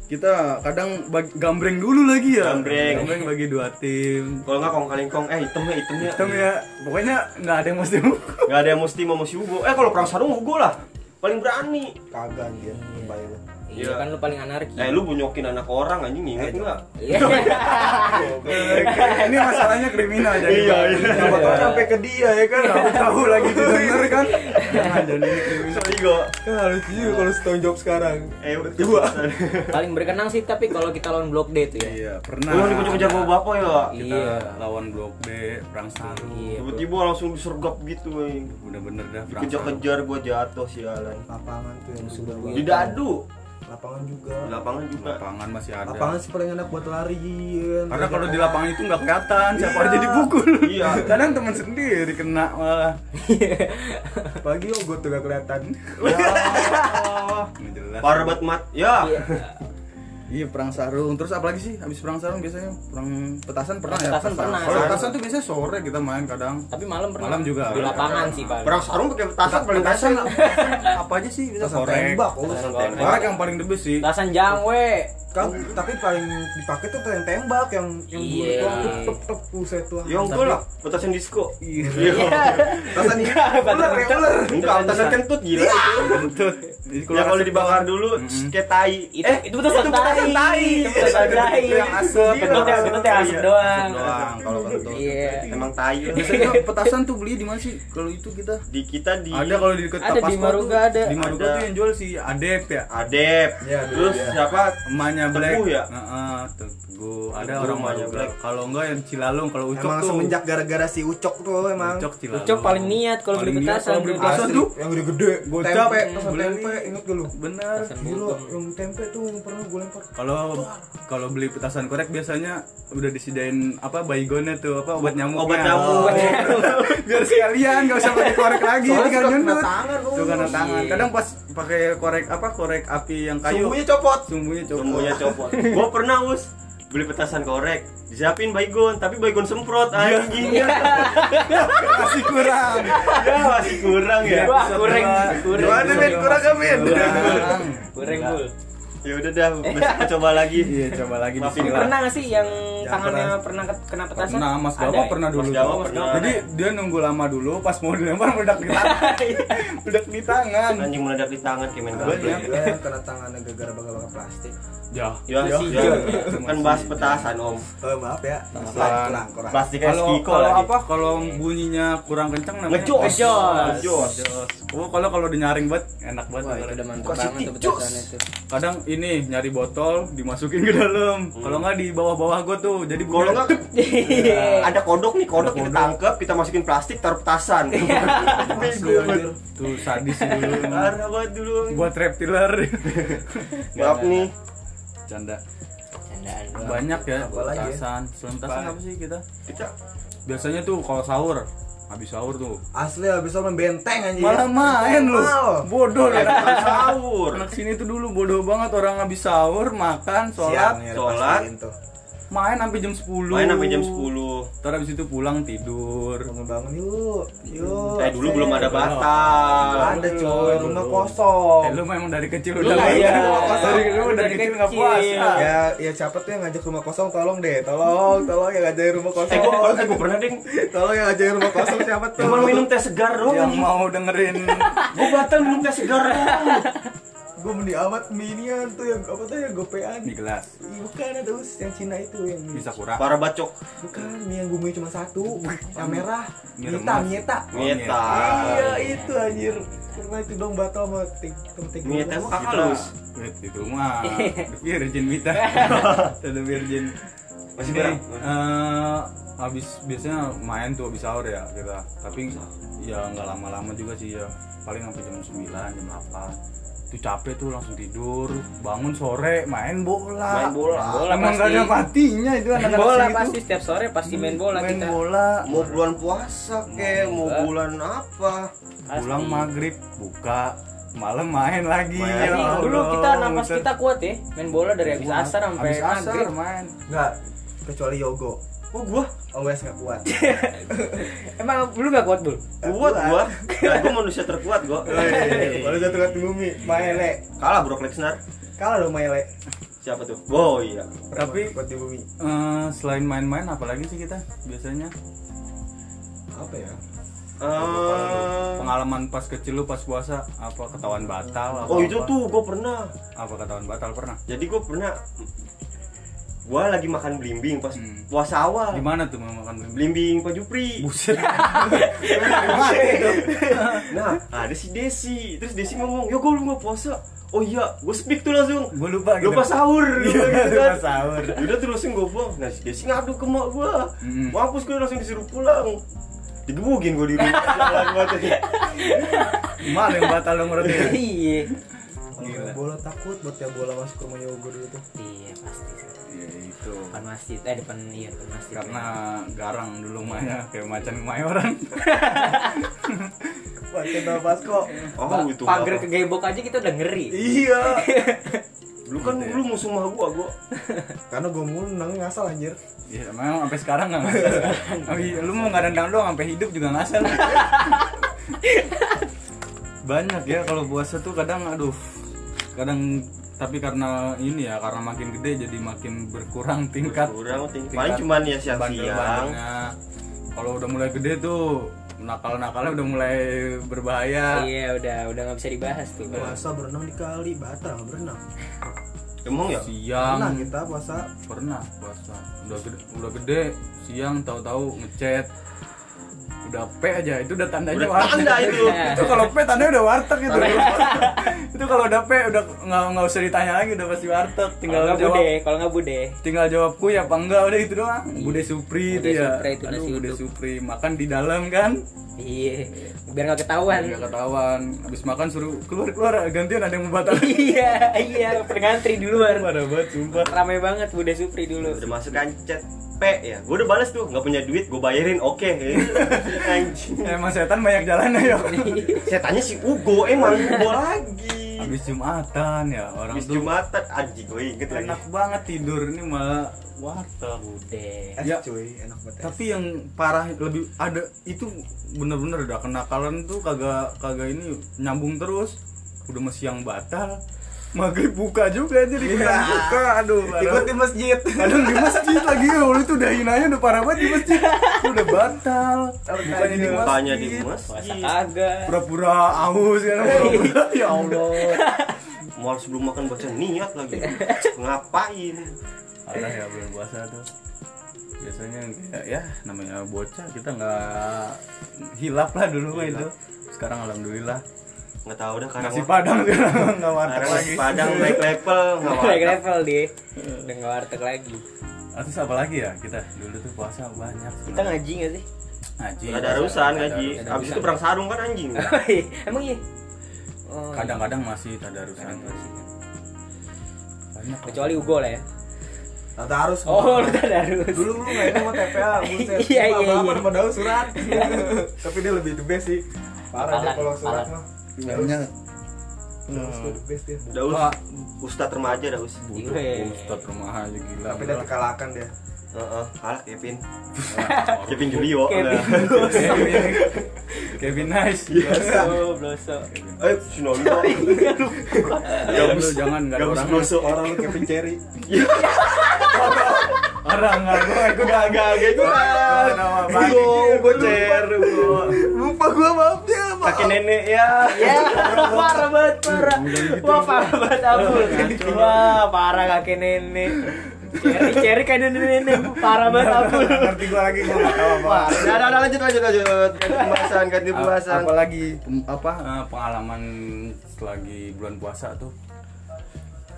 Speaker 1: Kita kadang bag- gambreng dulu lagi ya.
Speaker 2: Gambreng.
Speaker 1: Gambreng bagi dua tim.
Speaker 2: Kalau nggak kong kaling kong, eh hitamnya hitamnya.
Speaker 1: Hitam ya. Pokoknya nggak ada yang mesti
Speaker 2: Gak ada yang mesti mau mesti Hugo. Eh kalau perang sarung Hugo lah. Paling berani.
Speaker 3: Kagak anjir. Bayar.
Speaker 4: Iya
Speaker 2: Iya.
Speaker 4: kan lu paling anarki.
Speaker 2: Eh lu bunyokin anak orang anjing inget nggak?
Speaker 4: Iya.
Speaker 1: ini masalahnya kriminal jadi
Speaker 2: Iya,
Speaker 1: Bang.
Speaker 2: iya.
Speaker 3: Siapa tahu sampai ke dia ya kan.
Speaker 1: Tahu tahu lagi denger kan jangan jadi
Speaker 2: Sorry gue.
Speaker 3: Ya, harus juga kalau setahun job sekarang.
Speaker 2: Eh
Speaker 3: Dua.
Speaker 4: Paling berkenang sih tapi kalau kita lawan blok D tuh ya.
Speaker 1: iya pernah
Speaker 2: Lu dikejar-kejar bawa bapak ya.
Speaker 1: kita lawan blok B perang sarung
Speaker 4: Iya. bro.
Speaker 2: Tiba-tiba langsung disergap gitu. eh.
Speaker 1: bener-bener dah perang sarung
Speaker 2: Dikejar-kejar gue jatuh sialan.
Speaker 3: Lapangan tuh yang sudah
Speaker 2: Di dadu.
Speaker 3: lapangan juga
Speaker 2: Di lapangan juga
Speaker 1: lapangan masih ada
Speaker 3: lapangan sih paling enak buat lari kan.
Speaker 1: karena kalau di lapangan itu nggak kelihatan siapa aja dipukul
Speaker 2: Iya.
Speaker 1: kadang teman sendiri kena malah
Speaker 3: pagi oh gue tuh gak kelihatan
Speaker 1: Ya Nggak jelas
Speaker 2: parah banget mat ya
Speaker 4: Iya.
Speaker 1: Iya perang sarung. Terus apalagi sih habis perang sarung biasanya perang petasan pernah ya?
Speaker 4: Petasan pernah.
Speaker 1: Kalau petasan tuh biasanya sore kita main kadang.
Speaker 4: Tapi malam pernah.
Speaker 1: Malam juga.
Speaker 4: Di lapangan sih paling.
Speaker 2: perang sarung pakai petasan paling Ya, kasar
Speaker 1: apa aja sih bisa
Speaker 3: Petasan
Speaker 1: korek.
Speaker 3: tembak oh.
Speaker 4: Petasan
Speaker 1: Korek. Korek yang paling the best sih.
Speaker 4: Petasan jangwe.
Speaker 3: Kan, tapi paling dipakai tuh yang tembak yang yang
Speaker 4: Iya.
Speaker 3: bulat doang, tuh, tep tep buset tuh.
Speaker 2: ya enggak lah petasan disco
Speaker 3: Iya.
Speaker 1: Petasan iya.
Speaker 3: Ular ya ular.
Speaker 4: kan
Speaker 2: enggak petasan kentut gila itu
Speaker 1: Jadi
Speaker 2: ya kalau dibakar dulu kayak tai Eh,
Speaker 4: Itu,
Speaker 1: Eh,
Speaker 4: itu petasan tai. Itu petasan tai.
Speaker 1: Itu yang asap.
Speaker 4: Kentut yang kentut yang asap
Speaker 2: Iya.
Speaker 4: doang.
Speaker 1: doang kalau kentut.
Speaker 4: Iya.
Speaker 2: emang tai
Speaker 1: Biasanya petasan tuh beli di mana sih? Kalau itu kita
Speaker 2: di kita di
Speaker 1: ada kalau di dekat
Speaker 4: Ada di
Speaker 1: Tapasco
Speaker 4: Maruga
Speaker 1: tuh.
Speaker 4: ada.
Speaker 1: Di Maruga
Speaker 2: Ada.
Speaker 1: tuh yang jual si Adep ya.
Speaker 2: Adep
Speaker 3: Iya,
Speaker 2: terus
Speaker 3: iya.
Speaker 2: siapa
Speaker 1: Emaknya
Speaker 2: Teguh
Speaker 1: Black.
Speaker 2: ya?
Speaker 1: Heeh, Teguh. Ada
Speaker 2: Teguh,
Speaker 1: orang
Speaker 2: emaknya
Speaker 1: Maruga.
Speaker 2: Black.
Speaker 1: Kalau enggak yang Cilalong kalau Ucok
Speaker 3: Emang
Speaker 1: tuh.
Speaker 3: semenjak gara-gara si Ucok tuh emang.
Speaker 1: Ucok Cilalong.
Speaker 4: Ucok paling niat kalau beli
Speaker 1: Paling niat
Speaker 4: petasan.
Speaker 1: kalau beli
Speaker 4: Dia
Speaker 1: petasan.
Speaker 3: Asli,
Speaker 1: tuh?
Speaker 3: yang gede-gede.
Speaker 1: Gocap.
Speaker 3: Tempe,
Speaker 1: Hmm,
Speaker 3: pesan
Speaker 1: beli.
Speaker 3: tempe inget gak lu?
Speaker 1: Bener.
Speaker 3: Gila, yang tempe tuh yang pernah gue lempar.
Speaker 1: Kalau kalau beli petasan korek biasanya udah disediain apa baygonnya tuh apa obat nyamuk. ya. Oh, iya.
Speaker 2: Obat nyamuk.
Speaker 1: Biar sekalian gak usah pakai korek lagi
Speaker 3: Soalnya
Speaker 1: tinggal
Speaker 3: suka kena
Speaker 1: nyundut.
Speaker 3: tangan, lu.
Speaker 1: Tuh kena tangan.
Speaker 4: Iya.
Speaker 1: Kadang pas pakai korek apa korek api yang kayu.
Speaker 3: Sumbunya copot.
Speaker 1: Sumbunya copot.
Speaker 2: semuanya copot gua pernah us beli petasan korek disiapin baygon tapi baygon semprot
Speaker 1: Iya.
Speaker 2: anjing
Speaker 1: Masih kurang.
Speaker 2: ya masih kurang ya
Speaker 4: Wah, kurang. Kurang.
Speaker 1: Gimana men kurang kan
Speaker 3: Iya,
Speaker 1: men? Kurang.
Speaker 4: Goreng bul.
Speaker 2: ya udah dah besok kita coba lagi
Speaker 1: Iya coba lagi
Speaker 2: Maafin,
Speaker 1: bismillah.
Speaker 4: Pernah nggak sih yang
Speaker 3: Jangan
Speaker 4: tangannya pernah ke- kena petasan?
Speaker 1: Pernah Mas
Speaker 4: Ada
Speaker 1: Gawa
Speaker 4: ya?
Speaker 1: pernah dulu.
Speaker 2: Mas Gawa
Speaker 1: tuh.
Speaker 2: pernah.
Speaker 1: Jadi dia nunggu lama dulu pas mau dilempar meledak di tangan. Meledak di tangan.
Speaker 2: anjing meledak di tangan Iya, kayak main
Speaker 3: Iya.
Speaker 1: Banyak.
Speaker 2: gameplay.
Speaker 3: Gila, kena tangannya gara-gara bakal-bakal plastik.
Speaker 1: Ya.
Speaker 2: Ya,
Speaker 1: Ya.
Speaker 2: ya, ya. kan bahas petasan om
Speaker 3: Oh, maaf ya.
Speaker 1: Kurang.
Speaker 3: Kurang, kurang.
Speaker 2: plastiknya
Speaker 1: Kalau
Speaker 2: skiko
Speaker 1: kalau
Speaker 2: lagi
Speaker 1: apa kalau bunyinya kurang kencang namanya
Speaker 2: ngejos
Speaker 4: Ngejos.
Speaker 2: ngejos
Speaker 1: Oh, kalau kalau dinyaring banget enak banget.
Speaker 4: Wah, itu
Speaker 1: dengerin.
Speaker 4: udah mantap
Speaker 3: Kasih
Speaker 4: banget tuh
Speaker 3: ticus.
Speaker 4: petasan itu.
Speaker 1: Kadang ini nyari botol dimasukin ke dalam. Kalau nggak di bawah-bawah gua tuh. Jadi
Speaker 2: kalau
Speaker 1: bunyinya
Speaker 2: nggak
Speaker 1: Iya.
Speaker 2: ada kodok nih kodok kita tangkep kita masukin plastik taruh petasan
Speaker 1: Iya.
Speaker 3: Asli,
Speaker 2: Bego banget.
Speaker 3: anjir.
Speaker 1: tuh sadis dulu.
Speaker 2: parah banget dulu anjing.
Speaker 1: Buat reptiler.
Speaker 2: maaf nih
Speaker 1: Canda.
Speaker 4: Candaan.
Speaker 1: Banyak ya
Speaker 3: Apa lagi ya?
Speaker 1: petasan. Selain petasan
Speaker 2: Apa?
Speaker 1: apa sih kita?
Speaker 2: kita
Speaker 1: Biasanya tuh kalau sahur habis sahur tuh
Speaker 3: Asli habis itu main benteng anjir.
Speaker 1: malah main lu
Speaker 3: Mal.
Speaker 1: bodoh lu anak
Speaker 2: sahur
Speaker 1: anak sini tuh dulu bodoh banget orang habis sahur makan
Speaker 3: Siang
Speaker 1: sholat
Speaker 3: ya,
Speaker 2: sholat.
Speaker 3: pastiin tuh.
Speaker 1: main sampai jam 10
Speaker 2: main sampai jam 10
Speaker 1: Ntar abis itu pulang tidur
Speaker 3: Bangun-bangun yuk. Yuk.
Speaker 2: Saya Eh, dulu belum ada
Speaker 1: Belum.
Speaker 2: batal.
Speaker 3: Gak ada coy,
Speaker 1: Belum.
Speaker 3: rumah kosong.
Speaker 1: Eh, lu memang dari kecil
Speaker 4: Lu
Speaker 1: udah
Speaker 4: nggak
Speaker 1: iya.
Speaker 4: ada rumah kosong.
Speaker 1: Dari, lu
Speaker 4: Lu
Speaker 1: dari
Speaker 4: dari
Speaker 1: kecil nggak Ah.
Speaker 4: kecil.
Speaker 1: puasa.
Speaker 3: Ya, ya siapa tuh yang ngajak rumah kosong tolong deh, tolong, tolong yang ngajakin rumah
Speaker 2: Eh
Speaker 3: kosong.
Speaker 2: gua eh, gua pernah ding
Speaker 3: tolong yang ngajakin rumah kosong siapa tuh?
Speaker 2: cuma minum teh segar
Speaker 1: Yang
Speaker 2: doang.
Speaker 1: mau dengerin
Speaker 2: Gua batal minum teh segar doang.
Speaker 3: Gue mending amat minian tuh yang apa tuh yang gopean.
Speaker 1: di gelas
Speaker 3: Ih, Bukan ada us yang Cina itu yang
Speaker 1: bisa kurang.
Speaker 2: Para bacok.
Speaker 3: Bukan, mie yang bumbunya cuma satu, yang merah.
Speaker 1: Mie
Speaker 3: Nyeta,
Speaker 1: remas.
Speaker 3: nyeta.
Speaker 2: Mieta.
Speaker 3: Iya, itu anjir. Pernah itu dong batal sama tik- sama tik-
Speaker 2: Mieta emang kakak
Speaker 1: Itu
Speaker 2: lu.
Speaker 1: Wait, eh, itu mah the virgin mita. Ada virgin.
Speaker 2: Masih
Speaker 4: Iya.
Speaker 1: Ini,
Speaker 2: kurang.
Speaker 1: eh, habis biasanya main tuh habis sahur ya kita. Tapi ya nggak lama-lama juga sih ya. Paling sampai jam 9, jam 8 itu capek tuh langsung tidur bangun sore main bola Nah,
Speaker 2: Main bola.
Speaker 4: Bola
Speaker 1: emang
Speaker 4: pasti.
Speaker 1: gak ada matinya itu
Speaker 4: Main
Speaker 1: anak-anak
Speaker 4: bola
Speaker 1: sini tuh.
Speaker 4: pasti setiap sore pasti main bola
Speaker 1: main
Speaker 4: kita.
Speaker 1: bola
Speaker 2: Mau bulan puasa kek, mau bulan apa?
Speaker 4: Pasti.
Speaker 1: pulang maghrib buka malam main lagi
Speaker 2: Main.
Speaker 1: Ya
Speaker 4: Tapi
Speaker 1: Allah,
Speaker 4: dulu kita napas
Speaker 1: muter.
Speaker 4: kita kuat ya main bola dari habis asar sampai
Speaker 1: Habis asar
Speaker 4: maghrib.
Speaker 1: main
Speaker 3: Enggak, kecuali Yogo.
Speaker 2: Oh gua
Speaker 3: Always nggak kuat.
Speaker 4: Emang lu gak kuat dulu?
Speaker 2: kuat gua. Nah, gua manusia terkuat gua.
Speaker 3: Oh, iya, Baru jatuh lihat di bumi, Maele.
Speaker 2: Kalah Bro Lesnar.
Speaker 3: Kalah dong Maele.
Speaker 2: Siapa tuh? Oh iya.
Speaker 1: Tapi,
Speaker 3: kuat di bumi.
Speaker 1: Eh, selain main-main apalagi sih kita biasanya
Speaker 3: Apa ya?
Speaker 2: Eh,
Speaker 1: pengalaman pas kecil lu pas puasa apa ketahuan batal apa
Speaker 2: oh itu
Speaker 1: apa?
Speaker 2: tuh gua pernah.
Speaker 1: apa ketahuan batal pernah
Speaker 2: Jadi gua pernah gua lagi makan belimbing pas
Speaker 1: Hmm.
Speaker 2: puasa awal.
Speaker 1: gimana tuh mau makan beli
Speaker 2: Belimbing Pak Jupri.
Speaker 1: buset
Speaker 2: Nah, ada si Desi. Terus Desi ngomong, "Ya, "Yo, gue lu nggak puasa." Oh iya, gue speak tuh langsung.
Speaker 1: gue lupa gitu
Speaker 2: Lupa
Speaker 1: Iya,
Speaker 2: sahur, lupa gitu kan.
Speaker 1: lupa sahur.
Speaker 2: Udah terus langsung gue pulang. Nah, si Desi ngadu ke mak gue.
Speaker 1: Mm.
Speaker 2: Mampus gue langsung disuruh pulang. Digebukin gue di rumah. Jalan banget aja.
Speaker 1: malah yang batal dong berarti
Speaker 4: Iya.
Speaker 1: Gila.
Speaker 3: main bola takut buat tiap bola masuk ke rumahnya Ugo dulu tuh
Speaker 4: Iya pasti sih.
Speaker 1: ya itu
Speaker 4: Depan masjid, eh depan iya depan masjid.
Speaker 1: karena garang dulu mainnya kayak macan kemayoran
Speaker 3: pakai nafas kok
Speaker 2: Oh,
Speaker 4: Pa-
Speaker 2: itu
Speaker 4: pagar
Speaker 2: apa?
Speaker 4: kegebok aja kita udah ngeri.
Speaker 2: Iya. Lu kan
Speaker 1: Gitu ya.
Speaker 2: lu musuh mah gua, gua.
Speaker 3: karena gue mulu nang ngasal anjir
Speaker 1: ya memang sampai sekarang nggak ngasal Tapi lu mau nggak nendang doang sampai hidup juga ngasal banyak ya kalau puasa tuh kadang aduh kadang tapi karena ini ya karena makin gede jadi makin berkurang tingkat
Speaker 2: Kurang ting.
Speaker 1: tingkat
Speaker 2: Paling cuman ya siang-siang.
Speaker 1: bandel-bandelnya. kalau udah mulai gede tuh nakal-nakalnya udah mulai berbahaya
Speaker 4: Iya udah udah nggak bisa dibahas tuh.
Speaker 3: puasa berenang di kali batal berenang
Speaker 2: Emang ya?
Speaker 1: siang
Speaker 3: pernah kita puasa
Speaker 1: pernah puasa udah gede, udah gede siang tahu-tahu ngechat udah P aja itu udah tandanya
Speaker 2: Udah
Speaker 1: warteg
Speaker 2: tanda itu.
Speaker 1: itu kalau P tandanya udah warteg itu itu kalau udah P udah nggak nggak usah ditanya lagi udah pasti warteg
Speaker 4: Kalau
Speaker 1: tinggal
Speaker 4: nggak
Speaker 1: jawab
Speaker 4: bude, kalau nggak bude.
Speaker 1: tinggal jawabku ya apa enggak udah itu doang bude supri
Speaker 4: Bude
Speaker 1: itu ya
Speaker 4: Supri itu
Speaker 1: Aduh,
Speaker 4: nasi
Speaker 1: bude
Speaker 4: uduk.
Speaker 1: supri makan di dalam kan
Speaker 4: Iya. Biar nggak ketahuan.
Speaker 1: nggak ketahuan habis makan suruh keluar keluar gantian ada yang mau batal
Speaker 4: Iya iya. Pernah ngantri di luar.
Speaker 1: pada banget sumpah
Speaker 4: Rame banget bude Supri dulu.
Speaker 2: Udah masuk kan chat P ya. Gua udah balas tuh, nggak punya duit, gua bayarin. Oke. Anjing.
Speaker 1: emang setan banyak jalannya ya
Speaker 4: Iya.
Speaker 2: Saya tanya si Ugo emang Ugo lagi.
Speaker 1: habis jumatan ya orang
Speaker 2: Habis
Speaker 1: tuh
Speaker 2: Jumatan anjing gue inget lagi.
Speaker 1: enak banget tidur ini malah warteg
Speaker 4: Bude.
Speaker 3: es
Speaker 1: Ya.
Speaker 3: cuy enak banget es.
Speaker 1: tapi yang parah lebih ada itu bener-bener udah kenakalan tuh kagak kagak ini nyambung terus udah mau siang batal maghrib buka juga jadi kita buka aduh
Speaker 3: ikut
Speaker 1: parah.
Speaker 3: di masjid
Speaker 1: kadang di masjid lagi ya Allah, itu udah hinanya udah parah banget di masjid udah batal bukannya di Iya. masjid
Speaker 2: Tanya di mas,
Speaker 4: Puasa kagak.
Speaker 1: pura-pura aus ya pura-pura. ya Allah
Speaker 2: mau sebelum makan baca niat lagi. Ngapain?
Speaker 1: Parah ya bulan puasa tuh biasanya kayak ya namanya bocah kita nggak hilap lah dulu mah itu sekarang alhamdulillah
Speaker 2: Nggak tahu dah karena
Speaker 1: nasi padang sekarang nggak warteg
Speaker 2: Karena
Speaker 1: lagi
Speaker 2: Padang naik level nggak
Speaker 4: Naik
Speaker 2: apa-apa.
Speaker 4: level dia. Udah nggak warteg lagi.
Speaker 1: atau apa lagi ya kita dulu tuh puasa banyak
Speaker 4: Kita ngaji nggak sih?
Speaker 1: ngaji
Speaker 2: Nggak ada urusan
Speaker 1: Nggak ada
Speaker 2: gaji.
Speaker 1: urusan.
Speaker 4: ada
Speaker 2: Abis itu
Speaker 4: urusan.
Speaker 2: perang sarung kan anjing.
Speaker 4: Emang iya. Oh,
Speaker 1: kadang-kadang masih ada urusan
Speaker 4: kadang masih.
Speaker 1: banyak
Speaker 4: Kecuali Ugo lah ya.
Speaker 3: tata harus
Speaker 4: Oh, lu tadarus.
Speaker 3: dulu lu main sama TPA buset
Speaker 4: Iya,
Speaker 3: Cuma
Speaker 4: iya,
Speaker 3: apa-apa
Speaker 4: iya.
Speaker 3: padahal surat tapi dia lebih the best sih parah dia
Speaker 4: Apalan,
Speaker 3: kalau surat
Speaker 4: apalan.
Speaker 3: mah
Speaker 1: banyak
Speaker 3: Daus tuh the best dia
Speaker 2: Daus, ustad remaja Daus.
Speaker 1: butuh
Speaker 4: Iya.
Speaker 1: ustad rumah aja gila
Speaker 3: tapi dia terkalahkan dia
Speaker 2: Heeh, kalah Kevin. Kevin Julio.
Speaker 4: Kevin.
Speaker 1: Kevin Kevin nice
Speaker 4: Bloso, bloso.
Speaker 2: Eh, Sinolo.
Speaker 1: jangan Ya, lu jangan Iya, nggak ada
Speaker 2: Gabus
Speaker 1: orang
Speaker 2: Bloso.
Speaker 3: orang lu Kevin Cherry
Speaker 1: orang nggak gua ikut
Speaker 2: Gak, gak, gak ikutan.
Speaker 1: Nama baik.
Speaker 2: Ugo, Ugo Cer, Ugo.
Speaker 3: lupa gua maafnya maaf
Speaker 2: Kakek nenek ya.
Speaker 4: Ya, parah banget, parah. Wah, parah banget Abul. Wah, parah kakek nenek. Ceri, ceri kayak nenek nenek. Parah banget Abul.
Speaker 3: ngerti gua lagi gua nggak tahu apa
Speaker 2: Udah, udah, udah, lanjut, lanjut, lanjut. Ganti pembahasan, ganti pembahasan.
Speaker 1: apalagi em, apa eh, pengalaman selagi bulan puasa tuh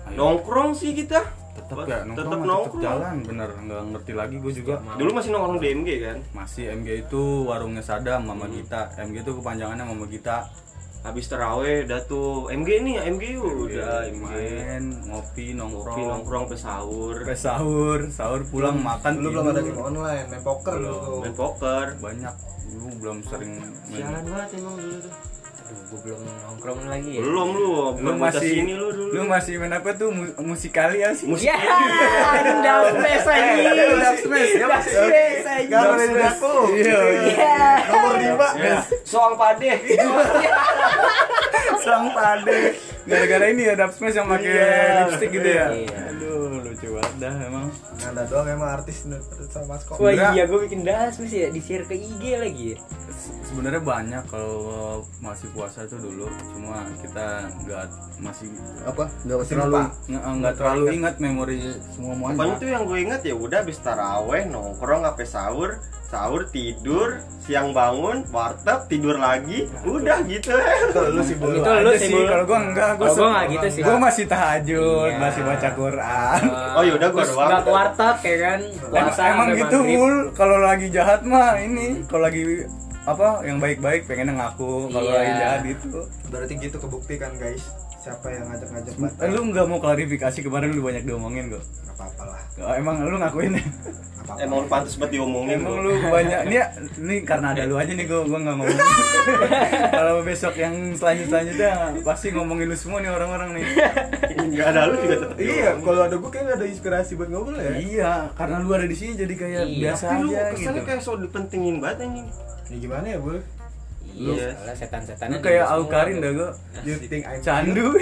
Speaker 1: Ayo,
Speaker 2: Nongkrong sih kita.
Speaker 1: tetep ya nongkrong,
Speaker 2: tetep
Speaker 1: mah, tetep
Speaker 2: nongkrong.
Speaker 1: jalan bener nggak ngerti lagi gue juga
Speaker 2: Dulu masih nongkrong DMG kan.
Speaker 1: masih MG itu warungnya Sadam
Speaker 2: Hmm.
Speaker 1: Mama Gita MG itu kepanjangannya Mama Gita
Speaker 2: Habis terawih udah tuh MG nih, MG udah MG.
Speaker 1: Ya, main ngopi nongkrong
Speaker 2: Kopi nongkrong ke sahur,
Speaker 1: sampai sahur sahur pulang makan
Speaker 3: dulu belum ada
Speaker 1: tidur.
Speaker 3: game online main poker dulu tuh
Speaker 2: main poker.
Speaker 1: banyak dulu belum sering main
Speaker 2: Sialan banget emang dulu tuh.
Speaker 4: Aduh, gue belum nongkrong lagi ya.
Speaker 2: Belum Iya. lu,
Speaker 1: lu
Speaker 2: belum
Speaker 1: masih
Speaker 2: sini lu dulu.
Speaker 1: lu masih main apa tuh mu- musikali ya sih
Speaker 4: Ya, udah smash lagi.
Speaker 1: Dark Smash ya
Speaker 4: Udah
Speaker 1: Mas?
Speaker 4: smash lagi.
Speaker 3: Gak boleh diaku.
Speaker 1: Iya,
Speaker 4: Ya.
Speaker 3: Nomor 5
Speaker 2: Ya, soal pade.
Speaker 1: sang pade gara-gara ini ya Dark Smash yang pakai lipstick gitu ya
Speaker 4: Iya.
Speaker 1: aduh lucu banget dah emang
Speaker 3: Ada doang emang artis sama Mas Kok
Speaker 4: Wah iya, gue bikin das smash ya. Di share ke IG lagi ya.
Speaker 1: Se- sebenarnya banyak kalau masih puasa tuh dulu cuma kita nggak masih apa nggak
Speaker 3: Masih
Speaker 1: terlalu
Speaker 3: lupa.
Speaker 1: nggak nggak terlalu ingat memori semua
Speaker 2: Pokoknya
Speaker 1: muanya
Speaker 2: tuh yang gue ingat ya udah habis taraweh nongkrong sampai sahur, sahur tidur, siang bangun, warteg, tidur lagi, udah gitu.
Speaker 3: lu sih bulu
Speaker 4: Itu lu
Speaker 1: Ada
Speaker 4: sih, Bul.
Speaker 1: kalau gua enggak gua
Speaker 4: Kalau gua
Speaker 1: se-
Speaker 4: nggak gitu sih.
Speaker 1: gua masih tahajud
Speaker 4: Iya.
Speaker 1: masih baca Quran
Speaker 2: Oh, yaudah, gua
Speaker 4: Terus
Speaker 2: doang.
Speaker 4: nggak ke warteg ya kan.
Speaker 1: Emang,
Speaker 4: Puasa
Speaker 1: emang
Speaker 4: sampai
Speaker 1: gitu
Speaker 4: maghrib. Iya,
Speaker 1: mul kalau lagi jahat mah ini kalau lagi apa yang baik-baik pengen ngaku kalau
Speaker 4: Iya.
Speaker 1: lagi jahat itu
Speaker 3: Berarti gitu kebuktikan guys siapa yang ngajak-ngajak batal
Speaker 1: Eh, lu nggak mau klarifikasi kemarin lu banyak diomongin kok.
Speaker 3: nggak apa-apa lah
Speaker 1: Oh, Emang lu ngakuin ya?
Speaker 3: nggak apa-apa
Speaker 2: Emang lu pantas buat diomongin
Speaker 1: Emang
Speaker 2: gua.
Speaker 1: lu banyak nih, nih karena ada lu aja nih gua gua nggak ngomong. Kalau besok yang selanjut selanjutnya pasti ngomongin lu semua nih orang-orang nih.
Speaker 2: Enggak ada lu juga tetep
Speaker 3: iya kalau ada gue kayaknya ada inspirasi buat ngobrol ya
Speaker 1: iya, karena lu ada di sini jadi kayak
Speaker 4: Iya,
Speaker 1: biasa
Speaker 2: Tapi lu
Speaker 1: aja
Speaker 2: kesannya
Speaker 1: gitu.
Speaker 2: kayak so dipentingin banget anjing.
Speaker 3: ya gimana ya bu
Speaker 2: Iya.
Speaker 4: Iya, soalnya setan-setan.
Speaker 1: Lu kayak Aukarin dah gua.
Speaker 3: you
Speaker 4: Iya.
Speaker 3: think I'm
Speaker 1: Candu.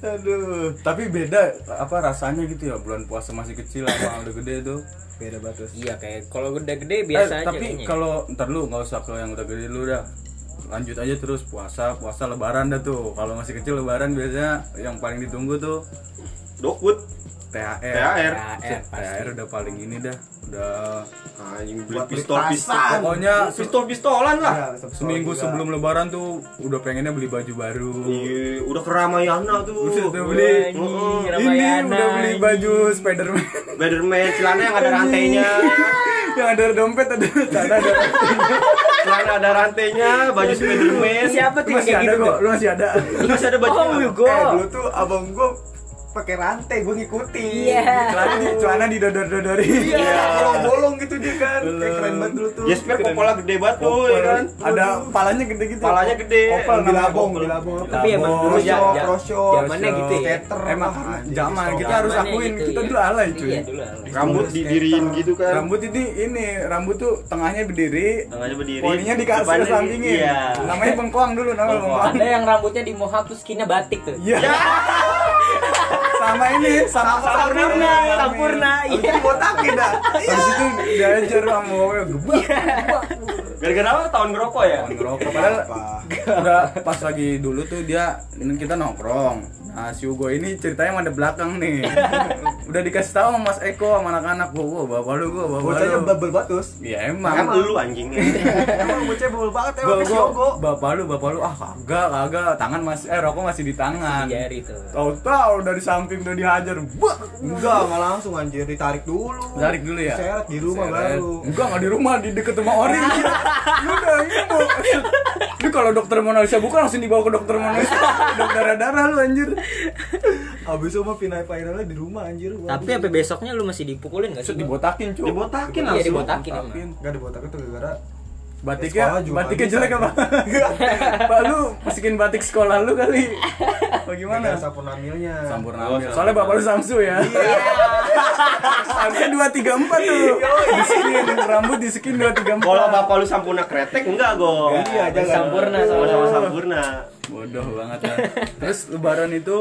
Speaker 1: Aduh, tapi beda apa rasanya gitu ya bulan puasa masih kecil sama udah gede tuh.
Speaker 3: beda batas
Speaker 4: Iya kayak kalau udah gede biasa
Speaker 1: Eh,
Speaker 4: aja
Speaker 1: tapi
Speaker 4: kayaknya.
Speaker 1: kalau ntar lu nggak usah ke yang udah gede lu dah lanjut aja terus puasa puasa lebaran dah tuh kalau masih kecil lebaran biasanya yang paling ditunggu tuh
Speaker 2: Dokut.
Speaker 1: THR
Speaker 2: THR.
Speaker 4: THR pasti.
Speaker 1: THR udah paling ini dah udah
Speaker 2: Anjing beli
Speaker 3: Buat beli
Speaker 2: pistol-pistol.
Speaker 3: tasan.
Speaker 1: pokoknya se-
Speaker 2: Pistol-pistolan lah.
Speaker 3: Ya, satu soal
Speaker 1: seminggu
Speaker 3: juga.
Speaker 1: sebelum lebaran tuh udah pengennya beli baju baru
Speaker 2: Iya, udah keramaiana tuh.
Speaker 1: Buset, udah beli Oh,
Speaker 2: Heeh.
Speaker 1: ini udah beli baju Spiderman
Speaker 2: Spiderman celana yang ada rantainya.
Speaker 1: yang ada dompet ada tanda ada
Speaker 2: celana ada rantainya, baju Spiderman.
Speaker 4: Siapa
Speaker 1: Lu
Speaker 4: tuh yang
Speaker 1: masih
Speaker 4: kayak
Speaker 1: ada
Speaker 4: gitu?
Speaker 1: kok lu masih ada
Speaker 2: Lu masih ada baju.
Speaker 4: Oh, you go.
Speaker 3: eh dulu tuh abang gue pakai rantai gue ngikutin
Speaker 4: Iya.
Speaker 1: celana di celana didodor-dodorin
Speaker 3: Iya, Ya, bolong-bolong gitu dia kan kayak
Speaker 1: Belum.
Speaker 3: keren banget dulu tuh
Speaker 2: Jesper popola gede banget tuh, ya kan?
Speaker 1: ada palanya gede gitu
Speaker 2: Kepalanya gede.
Speaker 1: Opel
Speaker 3: Yang dilabong,
Speaker 1: namanya.
Speaker 3: dilabong.
Speaker 4: Tapi emang dulu
Speaker 3: Prosho,
Speaker 4: ya, ya-
Speaker 3: prosho,
Speaker 4: zamannya gitu ya.
Speaker 3: skater,
Speaker 1: emang
Speaker 3: apa, anjing,
Speaker 1: Iya, zaman
Speaker 3: pistol.
Speaker 1: kita harus
Speaker 4: Zamannya
Speaker 1: akuin
Speaker 4: gitu
Speaker 1: kita
Speaker 4: ya.
Speaker 1: dulu alay cuy
Speaker 4: Iya, dulu alay.
Speaker 2: Rambut didiriin gitu kan.
Speaker 1: rambut ini ini rambut tuh tengahnya berdiri
Speaker 2: Tengahnya berdiri.
Speaker 1: poninya dikasih
Speaker 2: depannya di-
Speaker 1: sampingin
Speaker 2: Iya.
Speaker 1: namanya bengkoang dulu namanya bengkoang
Speaker 4: Ada yang rambutnya di mohawk terus skinnya batik tuh.
Speaker 1: iya sama ini sama
Speaker 4: Sampurna, sampurna.
Speaker 3: Abis
Speaker 4: Iya.
Speaker 3: itu botakin dah
Speaker 1: Habis itu diajar sama gue gebak
Speaker 2: Gara-gara apa tahun ngerokok ya?
Speaker 1: Orang ngerokok padahal udah pas lagi dulu tuh dia ini kita nongkrong nah si Hugo ini ceritanya ada belakang nih udah dikasih tahu sama Mas Eko sama anak-anak gua gua bapak lu gua bapak
Speaker 3: bocahnya
Speaker 1: lu
Speaker 3: bubble batus
Speaker 1: ya
Speaker 2: Kan
Speaker 1: emang
Speaker 2: lu anjingnya.
Speaker 3: emang bocahnya bubble banget
Speaker 1: gua,
Speaker 3: emang si
Speaker 1: gua,
Speaker 3: Yogo
Speaker 1: bapak lu bapak lu ah kagak kagak tangan masih eh rokok masih di tangan
Speaker 3: Iya.
Speaker 4: Jari tuh.
Speaker 1: tahu-tahu dari samping udah dihajar Wah!
Speaker 3: enggak enggak langsung anjir ditarik dulu
Speaker 1: Tarik dulu ya.
Speaker 3: seret di rumah
Speaker 1: Seret.
Speaker 3: baru
Speaker 1: Enggak, enggak di rumah, di deket rumah orang. Lu udah ini mau. Ini kalau dokter mau analisa buka langsung dibawa ke dokter mau analisa. Dokter darah-darah lu anjir.
Speaker 3: abis itu mah final finalnya di rumah anjir Waduh.
Speaker 4: Tapi apa besoknya lu masih dipukulin gak
Speaker 1: Set
Speaker 4: sih?
Speaker 1: dibotakin, cuy.
Speaker 2: Dibotakin
Speaker 4: Iya,
Speaker 2: langsung.
Speaker 4: dibotakin emang.
Speaker 3: enggak dibotakin tuh gara-gara
Speaker 1: Batiknya,
Speaker 3: Sekolah juga
Speaker 1: batiknya
Speaker 3: bisa.
Speaker 1: jelek apa? Pak lu masukin batik sekolah lu kali. Bagaimana?
Speaker 3: gara-gara sampurna milnya
Speaker 1: Sampurna.
Speaker 2: Oh,
Speaker 1: ambil. Soalnya bapak lu Samsu ya. Samsu 2 3 4 tuh. Diskin rambut diskin 2 3 4.
Speaker 2: Kalau bapak lu sampurna kretek enggak, Go?
Speaker 3: Iya, jangan.
Speaker 4: Sampurna
Speaker 2: Sama-sama
Speaker 4: sama-sama.
Speaker 2: sampurna.
Speaker 1: Bodoh banget ya. Terus lebaran itu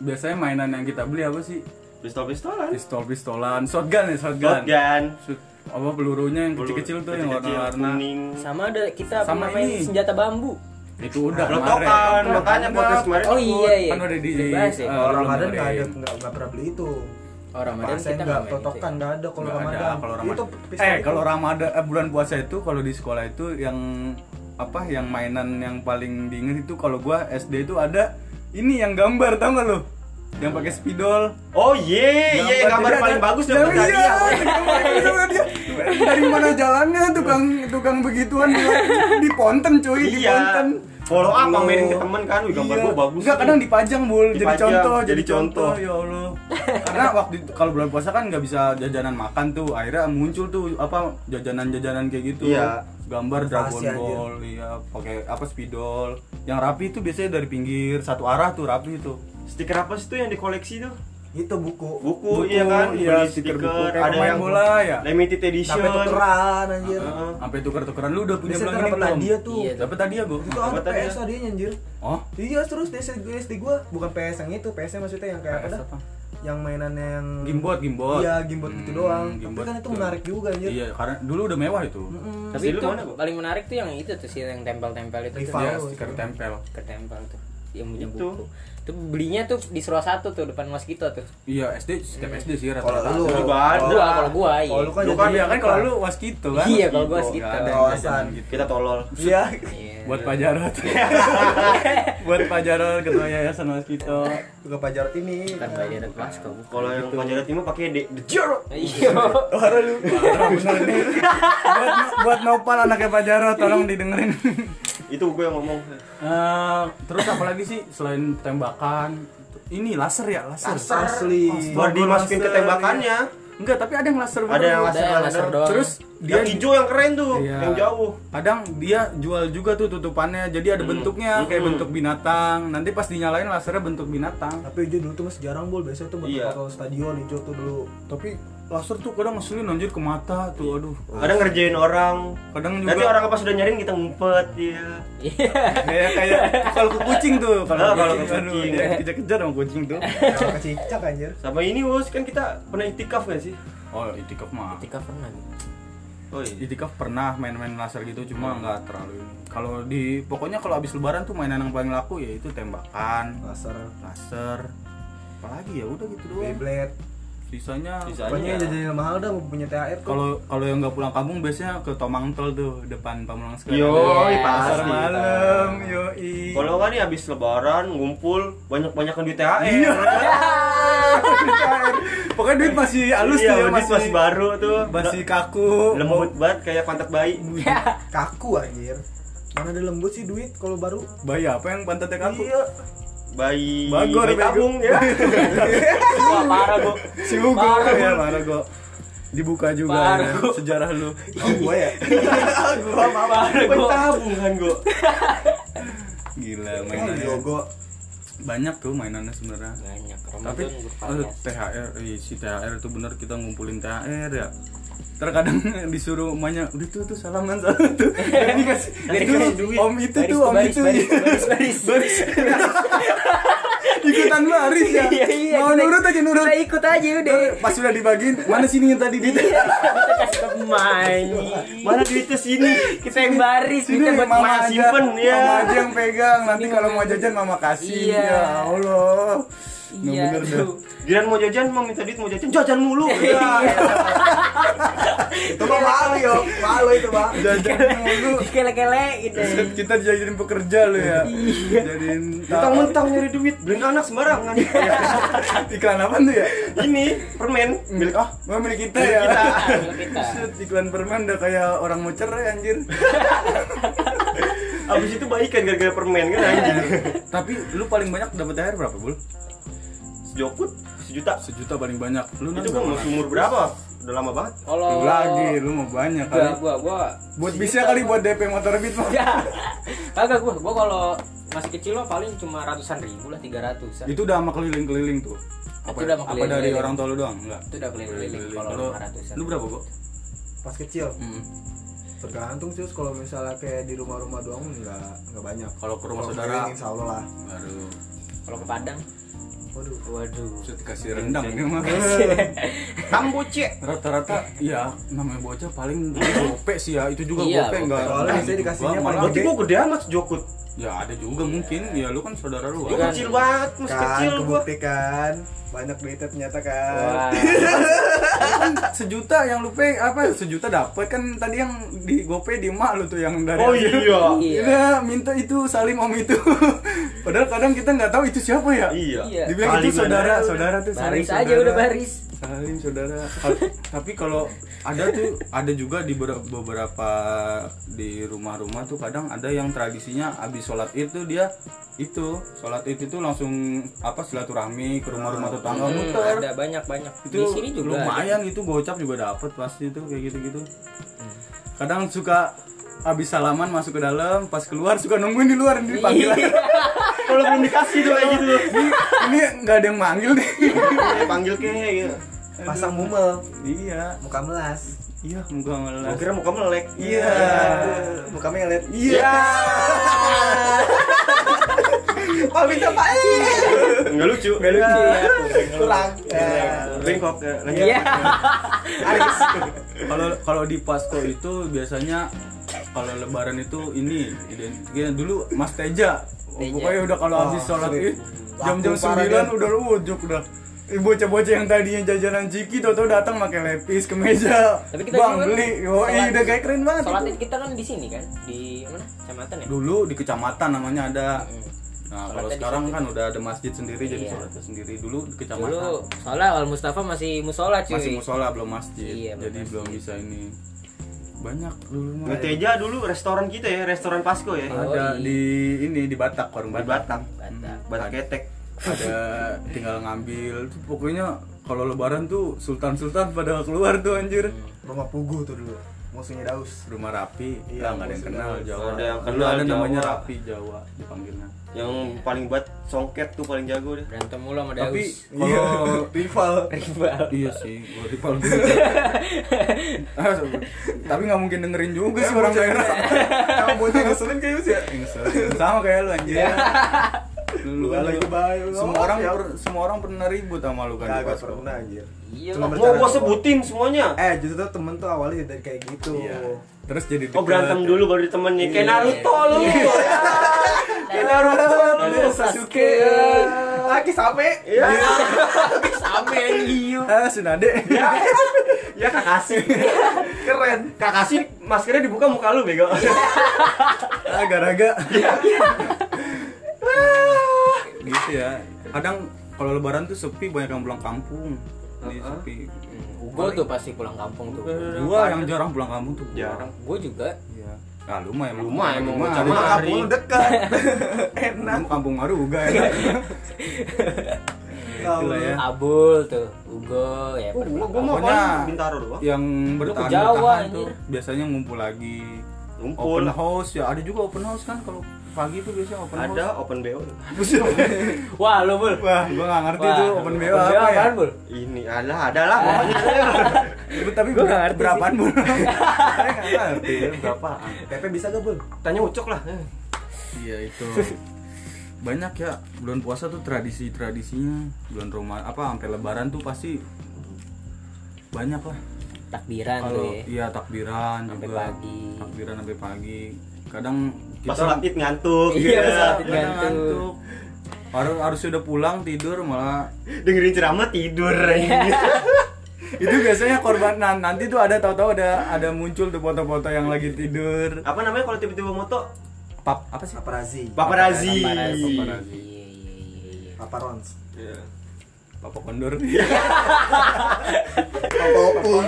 Speaker 1: biasanya mainan yang kita beli apa sih?
Speaker 2: Pistol-pistolan.
Speaker 1: Pistol-pistolan, shotgun ya, shotgun.
Speaker 2: Shotgun.
Speaker 1: Shoot, apa pelurunya yang
Speaker 2: Peluru
Speaker 1: kecil-kecil tuh yang
Speaker 2: kecil-kecil,
Speaker 1: warna-warna.
Speaker 2: kuning.
Speaker 4: Sama ada kita
Speaker 1: Sama
Speaker 4: pernah main
Speaker 1: ini.
Speaker 4: senjata bambu.
Speaker 1: Itu udah
Speaker 2: Blotokan,
Speaker 1: kemarin.
Speaker 2: makanya podcast kemarin
Speaker 4: Oh iya iya.
Speaker 1: Kan udah di
Speaker 4: Udah bahas ya.
Speaker 1: eh,
Speaker 3: kalau
Speaker 1: belum
Speaker 3: Ramadan nggak ada
Speaker 1: dengerin.
Speaker 3: nggak nggak pernah beli itu
Speaker 4: Oh, Ramadan
Speaker 3: Pasnya
Speaker 4: kita
Speaker 3: nggak
Speaker 4: nggak main gitu
Speaker 3: totokan
Speaker 4: ya.
Speaker 3: nggak ada kalau
Speaker 1: Nggak ada,
Speaker 3: Ramadan
Speaker 1: kalau Ramadan.
Speaker 3: itu pistol
Speaker 1: Eh,
Speaker 3: itu.
Speaker 1: kalau Ramadan eh, bulan puasa itu kalau di sekolah itu yang apa yang mainan yang paling diinget itu kalau gua SD itu ada ini yang gambar tau gak lo? Yang pakai spidol.
Speaker 2: Oh iya, iya yang gambar
Speaker 1: dia
Speaker 2: paling
Speaker 1: ada-
Speaker 2: bagus
Speaker 1: Iya,
Speaker 2: dapat
Speaker 1: iya,
Speaker 2: hadiah.
Speaker 1: gambar paling bagus dapat hadiah. Dari mana jalannya tukang tukang begituan di, di Ponten cuy, di
Speaker 2: Iya.
Speaker 1: Ponten.
Speaker 2: Follow up pamerin ke temen kan, wih gambar
Speaker 1: Iya.
Speaker 2: gua bagus.
Speaker 1: Enggak
Speaker 2: nih.
Speaker 1: kadang dipajang bul jadi
Speaker 2: Dipajang,
Speaker 1: contoh,
Speaker 2: jadi
Speaker 1: jadi contoh.
Speaker 2: contoh.
Speaker 1: Ya Allah. Karena waktu itu- kalau bulan puasa kan nggak bisa jajanan makan tuh. Akhirnya muncul tuh apa jajanan-jajanan kayak gitu.
Speaker 2: Iya.
Speaker 1: Gambar Dragon
Speaker 3: Pasti, anjir.
Speaker 1: Ball, iya, pakai apa spidol. Yang rapi itu biasanya dari pinggir satu arah tuh rapi itu.
Speaker 2: Stiker apa sih tuh yang dikoleksi tuh?
Speaker 3: itu buku
Speaker 2: Buku, iya kan,
Speaker 1: iya,
Speaker 2: beli
Speaker 1: stiker
Speaker 2: stiker,
Speaker 1: buku. Kayak
Speaker 2: ada
Speaker 1: pemain
Speaker 2: yang
Speaker 1: bola ya.
Speaker 2: limited edition.
Speaker 3: sampai tukeran anjir
Speaker 1: Ah,
Speaker 2: Heeh.
Speaker 1: Sampai tuker-tukeran lu udah punya
Speaker 3: Biasanya
Speaker 1: bulan ini
Speaker 3: dapat
Speaker 1: belum?
Speaker 3: hadiah tuh.
Speaker 1: Iya, dapat hadiah gua.
Speaker 3: itu ada
Speaker 2: Apa tadi
Speaker 3: PS
Speaker 2: ya?
Speaker 3: hadiahnya anjir
Speaker 1: Oh,
Speaker 3: iya terus DS gue SD gue bukan PS yang itu PS nya maksudnya yang kayak apa
Speaker 1: PS
Speaker 3: dah
Speaker 1: apa?
Speaker 3: yang mainannya yang
Speaker 1: gimbot, gimbot.
Speaker 3: iya gimbot gitu
Speaker 1: Hmm,
Speaker 3: doang tapi
Speaker 1: gimbot
Speaker 3: kan itu
Speaker 1: gitu.
Speaker 3: menarik juga anjir
Speaker 1: Iya, karena dulu udah mewah itu.
Speaker 3: Mm-mm.
Speaker 4: Tapi
Speaker 2: Si lu
Speaker 4: itu
Speaker 2: mana, Bu?
Speaker 4: paling menarik tuh yang itu tuh sih yang tempel-tempel itu tuh.
Speaker 3: Rival.
Speaker 1: Iya,
Speaker 3: Tahu,
Speaker 1: stiker
Speaker 3: itu.
Speaker 1: tempel.
Speaker 4: Ketempel tuh. Yang punya
Speaker 2: Itu.
Speaker 4: buku. Itu belinya tuh di Surah Satu tuh depan Moskito tuh.
Speaker 1: Iya, SD setiap SD sih
Speaker 3: kalau
Speaker 1: rata-rata.
Speaker 3: lu
Speaker 2: Juga ada.
Speaker 4: Gua kalau gua iya.
Speaker 3: kalau lu kan
Speaker 2: Lu
Speaker 3: jadi
Speaker 2: kan-
Speaker 1: Iya kan kalau lu waskito kan?
Speaker 4: Iya, kalau gua
Speaker 1: Waskito.
Speaker 4: waskito.
Speaker 1: Nggak ada yang
Speaker 3: Kawasan.
Speaker 1: jajanan gitu.
Speaker 2: Kita tolol.
Speaker 3: iya
Speaker 4: Iya.
Speaker 1: Buat Pak Jarot. Buat Pak Jarot ketua yayasan waskito.
Speaker 3: bukan pajar ini
Speaker 4: Bukan belajar dari kelas kok.
Speaker 2: Kalau yang panjarat timah pakai de, de jorok.
Speaker 4: Iya.
Speaker 3: orang lu
Speaker 1: Parah, bener nih. buat buat Nopal anaknya Pak Jarot tolong didengerin.
Speaker 2: itu gue yang ngomong
Speaker 1: Eh, terus apa lagi sih selain tembakan ini laser ya laser,
Speaker 2: Laser.
Speaker 3: Asli.
Speaker 1: Baru
Speaker 2: baru dimasukin ke
Speaker 1: laser,
Speaker 2: tembakannya
Speaker 1: iya. enggak tapi ada yang laser
Speaker 2: ada yang
Speaker 1: beneran.
Speaker 2: laser,
Speaker 4: Ada yang laser doang.
Speaker 1: terus dia
Speaker 2: yang hijau yang keren tuh
Speaker 1: Iya.
Speaker 2: yang jauh
Speaker 1: kadang dia jual juga tuh tutupannya jadi ada
Speaker 2: Hmm.
Speaker 1: bentuknya kayak bentuk binatang nanti pas dinyalain lasernya bentuk binatang
Speaker 3: Tapi hijau dulu tuh masih jarang bol, biasanya tuh buat
Speaker 2: Iya.
Speaker 3: kalau stadion hijau tuh dulu.
Speaker 1: tapi laser tuh kadang ngeselin anjir ke mata tuh aduh
Speaker 2: kadang ngerjain orang
Speaker 1: kadang juga
Speaker 2: nanti Iya. orang apa sudah nyariin kita ngumpet ya
Speaker 1: kayak kayak kalau ke kucing tuh
Speaker 2: Ah,
Speaker 1: kalau
Speaker 2: kalau
Speaker 1: ke
Speaker 2: ke
Speaker 1: kucing aduh,
Speaker 2: kucing.
Speaker 1: dia kejar-kejar sama kucing tuh
Speaker 3: Nah, kecicak anjir.
Speaker 2: sama ini us kan kita pernah itikaf gak sih
Speaker 1: oh itikaf mah
Speaker 4: Ketika pernah.
Speaker 2: oh iya
Speaker 1: itikaf pernah main-main laser gitu
Speaker 2: Hmm.
Speaker 1: cuma nggak terlalu ini kalau di pokoknya kalau habis lebaran tuh mainan yang paling laku yaitu
Speaker 2: Ah.
Speaker 1: tembakan
Speaker 3: Laser,
Speaker 1: laser apalagi ya udah gitu doang
Speaker 3: Beyblade.
Speaker 1: sisanya
Speaker 3: Pokoknya
Speaker 2: sisanya
Speaker 3: jajan yang mahal dah mau punya THR tuh.
Speaker 1: kalau kalau yang nggak pulang kampung biasanya ke Tomangtel tuh depan Pamulang Square.
Speaker 2: Yoi,
Speaker 1: Ada pasar
Speaker 2: pasti.
Speaker 1: malam, yoi.
Speaker 2: kalau kan nih habis lebaran ngumpul banyak banyakan duit E. THR
Speaker 1: Iya. Pokoknya duit masih halus
Speaker 2: iya,
Speaker 1: tuh ya,
Speaker 2: duit masih, baru tuh
Speaker 1: masih kaku. Oh,
Speaker 2: lembut banget kayak pantat bayi
Speaker 3: kaku anjir. Mana ada lembut sih duit kalau baru?
Speaker 1: Bayi apa yang pantatnya kaku?
Speaker 3: Iya.
Speaker 2: bayi
Speaker 1: Bagor,
Speaker 2: bayi
Speaker 1: bego.
Speaker 2: tabung ya
Speaker 4: Wah, parah gua.
Speaker 1: Si Hugo
Speaker 4: Parah,
Speaker 1: ya, mana gua dibuka juga
Speaker 4: Parah,
Speaker 1: ya,
Speaker 4: gua.
Speaker 1: sejarah lu.
Speaker 2: Iya.
Speaker 3: Oh, gua ya.
Speaker 2: gua apa
Speaker 4: Bayi
Speaker 2: tabungan gua Iya,
Speaker 1: Gila
Speaker 3: Oh,
Speaker 1: mainannya.
Speaker 3: Yogo.
Speaker 1: Banyak tuh mainannya sebenarnya.
Speaker 4: Banyak
Speaker 1: Tapi eh,
Speaker 4: Ramadan
Speaker 1: aduh,
Speaker 4: bervariasi.
Speaker 1: THR, ih, si THR tuh bener kita ngumpulin THR ya. Terkadang disuruh emaknya, udah tuh tuh salaman salaman tuh. Jadi dikasih
Speaker 4: Dari
Speaker 1: itu,
Speaker 4: dikasih duit.
Speaker 1: om itu tuh
Speaker 4: Baris tuh,
Speaker 1: om
Speaker 4: baris,
Speaker 1: itu.
Speaker 4: baris,
Speaker 1: iya.
Speaker 4: baris, baris.
Speaker 1: Baris. Ikutan baris ya.
Speaker 4: Iya, iya,
Speaker 1: Mau
Speaker 4: kita-
Speaker 1: nurut aja nurut.
Speaker 4: Kita ikut aja udah.
Speaker 1: Pas sudah dibagiin, mana sini yang tadi di
Speaker 4: Iya, kita kasih ke main.
Speaker 2: mana duitnya sini
Speaker 4: Kita yang baris,
Speaker 1: Sini
Speaker 4: kita buat
Speaker 1: mama
Speaker 4: main.
Speaker 1: aja,
Speaker 2: simpen, ya.
Speaker 1: Mama aja yang pegang. Nanti kalau mau jajan mama kasih.
Speaker 4: Iya.
Speaker 1: Ya Allah. Nah,
Speaker 4: Iya,
Speaker 1: bener deh.
Speaker 4: tuh.
Speaker 2: Giran mau jajan, mau minta duit, mau jajan, jajan mulu. Iya.
Speaker 3: Itu mah malu yo. Malu itu, Bang.
Speaker 1: Jajan mulu.
Speaker 4: Dikele-kelein deh.
Speaker 1: Kita dijadiin pekerja lu ya.
Speaker 4: Iya.
Speaker 1: Jadiin
Speaker 2: Mentang-mentang nyari duit, beliin anak sembarangan.
Speaker 1: iklan apa tuh ya?
Speaker 2: Ini permen
Speaker 1: Milik ah, oh, milik kita ya.
Speaker 4: kita.
Speaker 1: Shit, iklan permen udah kayak orang mau cerai anjir.
Speaker 2: Abis itu baikan gara-gara permen kan anjing.
Speaker 1: Tapi lu paling banyak dapat THR berapa, Bul?
Speaker 2: Sejokut sejuta.
Speaker 1: Sejuta paling banyak. Lu
Speaker 2: Itu
Speaker 1: nanti
Speaker 2: gua
Speaker 1: berapa?
Speaker 2: masih umur berapa? Udah lama banget.
Speaker 4: Kalau
Speaker 1: Lu lagi, lu mau banyak
Speaker 4: gua
Speaker 1: kali.
Speaker 4: gua gua
Speaker 1: Buat bisa kali buat DP motor Beat mah.
Speaker 4: ya kagak gua gua kalau masih kecil mah paling cuma ratusan ribu lah tiga ratusan
Speaker 1: Itu udah sama keliling-keliling tuh. Apa,
Speaker 4: udah sama
Speaker 1: apa
Speaker 4: keliling-keliling.
Speaker 1: dari orang tua lu doang? Enggak.
Speaker 4: itu udah keliling-keliling kalau lima ratusan Hmm.
Speaker 1: Lu berapa, kok?
Speaker 3: Pas kecil. Tergantung sih kalau misalnya kayak di rumah-rumah doang enggak enggak banyak.
Speaker 1: Kalau ke rumah
Speaker 3: Kalau
Speaker 1: saudara
Speaker 3: keliling, Insya Allah lah.
Speaker 1: baru
Speaker 4: kalau ke Padang
Speaker 3: Waduh.
Speaker 4: waduh
Speaker 1: set kasih rendang dia mah.
Speaker 2: Tamboce.
Speaker 1: Rata-rata ya namanya bocah paling gope sih ya. Itu juga
Speaker 4: Iya,
Speaker 1: gope
Speaker 4: gope.
Speaker 1: enggak.
Speaker 3: Soalnya
Speaker 1: enggak
Speaker 3: biasanya
Speaker 1: gitu
Speaker 3: dikasihnya
Speaker 1: banget.
Speaker 3: paling
Speaker 2: Berarti gua gede amat sejokut.
Speaker 1: Ya ada juga
Speaker 2: Iya.
Speaker 1: mungkin. Ya lu kan saudara lu.
Speaker 2: Gua
Speaker 1: kan.
Speaker 2: kecil banget, masih
Speaker 3: Kan
Speaker 2: kecil gua.
Speaker 3: kebuktikan banyak duitnya ternyata kan.
Speaker 4: Wah,
Speaker 1: Sejuta yang lu pay apa sejuta dapat kan tadi yang di gope di emak lu tuh yang dari
Speaker 2: Oh iya.
Speaker 1: Iya.
Speaker 4: iya
Speaker 1: minta itu salim om itu. Padahal kadang kita nggak tahu itu siapa ya.
Speaker 2: Iya.
Speaker 4: Iya.
Speaker 1: Dibilang
Speaker 2: Salim
Speaker 1: itu saudara,
Speaker 2: aja.
Speaker 1: saudara tuh saling
Speaker 4: baris aja
Speaker 1: saudara.
Speaker 4: udah baris
Speaker 1: Salim saudara. Kal- Tapi kalau ada tuh ada juga di ber- beberapa di rumah-rumah tuh kadang ada yang tradisinya abis sholat id tuh dia itu sholat id itu langsung apa silaturahmi ke rumah-rumah tetangga
Speaker 4: Hmm,
Speaker 1: muter.
Speaker 4: ada banyak banyak
Speaker 1: Itu
Speaker 4: di sini juga
Speaker 1: lumayan itu gocap juga dapet pasti itu kayak gitu-gitu.
Speaker 4: Hmm.
Speaker 1: Kadang suka abis salaman masuk ke dalam pas keluar suka nungguin di luar di
Speaker 4: ada.
Speaker 1: panggilan
Speaker 4: Iya.
Speaker 2: Kalau belum dikasih tuh kayak gitu.
Speaker 1: ini nggak ada yang manggil nih
Speaker 2: Eh, Panggil ke gitu.
Speaker 3: Pasang mumel,
Speaker 1: iya
Speaker 3: muka melas.
Speaker 1: iya muka
Speaker 2: Gua
Speaker 1: melas
Speaker 2: kira muka melek.
Speaker 1: Iya.
Speaker 3: Muka melet.
Speaker 1: iya
Speaker 3: Oh, bisa Pak.
Speaker 2: Enggak lucu. Enggak
Speaker 3: lucu. Kurang.
Speaker 2: Bengkok. ya. Lanjut.
Speaker 4: Iya.
Speaker 1: kalau kalau di Pasko itu biasanya kalau Lebaran itu ini identiknya dulu Mas Teja Oh,
Speaker 4: Teja.
Speaker 1: pokoknya udah kalau
Speaker 3: Wah,
Speaker 1: habis sholat
Speaker 3: sering.
Speaker 1: id jam-jam
Speaker 3: Laku Ah, parah
Speaker 1: sembilan
Speaker 3: dia.
Speaker 1: udah ujuk udah Eh, bocah-bocah yang tadinya jajanan ciki toto datang pakai lepis ke meja
Speaker 4: Tapi kita
Speaker 1: bang
Speaker 4: juga kan
Speaker 1: beli yo iya,
Speaker 4: sholat-
Speaker 1: udah kayak keren banget
Speaker 4: sholat
Speaker 1: itu.
Speaker 4: id kita kan di sini kan di mana kecamatan ya
Speaker 1: dulu di kecamatan namanya ada
Speaker 4: Hmm.
Speaker 1: nah
Speaker 4: Sholatnya
Speaker 1: kalau
Speaker 4: di
Speaker 1: sekarang kan udah ada masjid sendiri jadi
Speaker 4: Iya.
Speaker 1: sholatnya sendiri dulu di kecamatan
Speaker 4: dulu soalnya al Mustafa masih musola cuy
Speaker 1: masih musola belum masjid
Speaker 4: Iya, belum
Speaker 1: jadi belum bisa ini banyak dulu mah
Speaker 2: Ngeteja dulu restoran kita ya, restoran Pasco ya.
Speaker 1: ada di ini di Batak warung
Speaker 2: Di
Speaker 1: Batak
Speaker 2: Batak.
Speaker 4: Batak.
Speaker 2: Batak ketek.
Speaker 1: ada tinggal ngambil Tuh, pokoknya kalau lebaran tuh sultan-sultan pada keluar tuh anjir
Speaker 2: Hmm.
Speaker 3: rumah pugu tuh dulu musuhnya daus
Speaker 1: rumah rapi
Speaker 3: Iya,
Speaker 1: lah nggak ada yang kenal Jawa
Speaker 2: Ada yang
Speaker 1: Dulu
Speaker 2: kenal
Speaker 1: ada namanya
Speaker 2: Jawa.
Speaker 1: rapi Jawa dipanggilnya
Speaker 2: Yang paling buat songket tuh paling jago deh.
Speaker 4: Berantem mulu sama Daus.
Speaker 1: tapi
Speaker 3: iya
Speaker 1: kalau
Speaker 3: rival
Speaker 4: rival.
Speaker 1: iya sih gua rival dulu. Ah, tapi nggak mungkin dengerin juga sih orang daerah
Speaker 3: kamu bocah ngeselin kayak gitu ya
Speaker 1: sama kayak lu anjir Lu-
Speaker 3: Bukan lagi baik, lu
Speaker 1: semua
Speaker 3: ngomong
Speaker 1: orang
Speaker 3: siap.
Speaker 1: per- semua orang pernah ribut sama lu kan di
Speaker 3: kagak
Speaker 1: Pasco.
Speaker 3: pernah anjir
Speaker 4: Iya,
Speaker 3: Cuma
Speaker 4: lah.
Speaker 2: Gua
Speaker 3: bercanda
Speaker 2: gua
Speaker 3: doang.
Speaker 2: sebutin semuanya.
Speaker 3: eh justru tuh temen tuh awalnya dari kayak gitu
Speaker 1: Iya. terus jadi
Speaker 2: Oh
Speaker 1: deket.
Speaker 2: berantem dulu baru ditemenin kayak Naruto lu. Kayak Naruto lu.
Speaker 1: Sasuke
Speaker 3: laki sampai
Speaker 2: Iya.
Speaker 4: Sampai Liu.
Speaker 1: ah Tsunade
Speaker 2: Ya Kakashi.
Speaker 3: keren
Speaker 2: Kakashi maskernya dibuka muka lu bego.
Speaker 1: ah garaga gitu ya kadang kalau lebaran tuh sepi banyak yang pulang kampung di
Speaker 2: Uh-uh.
Speaker 1: sepi
Speaker 4: Gua Hmm, tuh pasti pulang kampung tuh.
Speaker 1: gua yang jarang pulang kampung tuh gua.
Speaker 2: Jarang.
Speaker 4: Gua juga.
Speaker 1: iya nah, lu mah emang
Speaker 2: Lu mah emang
Speaker 1: Lu mah ada-
Speaker 2: bocah mah.
Speaker 3: kampung lu dekat enak
Speaker 1: Lu kampung Maruga enak
Speaker 3: Tahu
Speaker 1: Itulah ya.
Speaker 4: Iya. Abul tuh, Ugo ya.
Speaker 2: Oh, gua gua mau
Speaker 1: Pokoknya
Speaker 2: paling Bintaro doang.
Speaker 1: yang bertahan
Speaker 4: Jawa,
Speaker 1: bertahan
Speaker 4: anjir.
Speaker 1: tuh biasanya ngumpul lagi
Speaker 2: Ngumpul.
Speaker 1: open house ya ada juga open house kan kalau pagi tuh biasanya open
Speaker 2: Ada
Speaker 1: house
Speaker 2: open BO.
Speaker 4: Wah, lu Bul.
Speaker 1: wah gua nggak ngerti
Speaker 4: Wah,
Speaker 1: tuh open BO apa ya
Speaker 4: apaan, Bul?
Speaker 2: Ini ada ada lah pokoknya.
Speaker 1: tapi
Speaker 4: Gua nggak
Speaker 1: ber-
Speaker 4: ngerti
Speaker 1: berapaan bu? Saya nggak ngerti berapaan
Speaker 3: Pepe bisa gak bun?
Speaker 2: Tanya Ucok lah.
Speaker 1: Iya itu banyak ya bulan puasa tuh tradisi tradisinya bulan Roma apa sampai Lebaran tuh pasti banyak lah
Speaker 4: Takbiran tuh
Speaker 1: kalau
Speaker 4: ya.
Speaker 1: iya takbiran
Speaker 4: Sampai
Speaker 1: juga
Speaker 4: pagi.
Speaker 1: takbiran sampai pagi kadang
Speaker 2: Pas
Speaker 1: kita
Speaker 2: sholat Id ngantuk.
Speaker 4: Iya, pas sholat Id.
Speaker 1: kadang ngantuk harus harus sudah pulang tidur malah
Speaker 2: Dengerin ceramah tidur.
Speaker 1: itu biasanya korban nah, nanti tuh ada tahu-tahu ada ada muncul tuh foto-foto yang lagi tidur
Speaker 2: Apa namanya kalau tiba-tiba moto?
Speaker 1: pap apa sih
Speaker 3: Paparazzi
Speaker 2: Paparazzi.
Speaker 4: Paparazzi.
Speaker 1: Paparazzi.
Speaker 4: Iya, iya, iya, iya.
Speaker 3: Paparons
Speaker 2: Iya.
Speaker 1: papa kondor
Speaker 3: Opung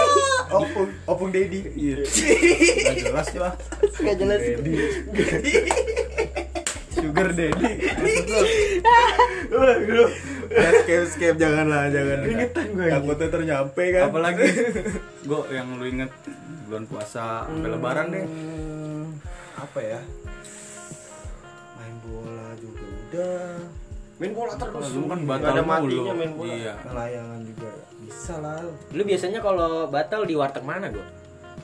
Speaker 3: Opung Opung Deddy
Speaker 1: iya Nggak jelas lah
Speaker 3: Gak jelas
Speaker 1: Daddy. Sugar Daddy.
Speaker 2: Wah, lu.
Speaker 3: Skip skip janganlah jangan
Speaker 1: Iya.
Speaker 2: Keringetan gua, anjing.
Speaker 3: Takutnya ternyampe kan
Speaker 1: Apalagi gue yang lu inget bulan puasa sampai lebaran deh.
Speaker 3: Hmm, apa ya main bola juga udah
Speaker 2: Main bola terus.
Speaker 1: Lu kan
Speaker 2: Nggak
Speaker 1: batal
Speaker 2: ada
Speaker 1: mulu.
Speaker 2: matinya main bola.
Speaker 1: Iya.
Speaker 3: layangan juga ya. bisa lah
Speaker 4: iya. Lu biasanya kalau batal di warteg mana, gua?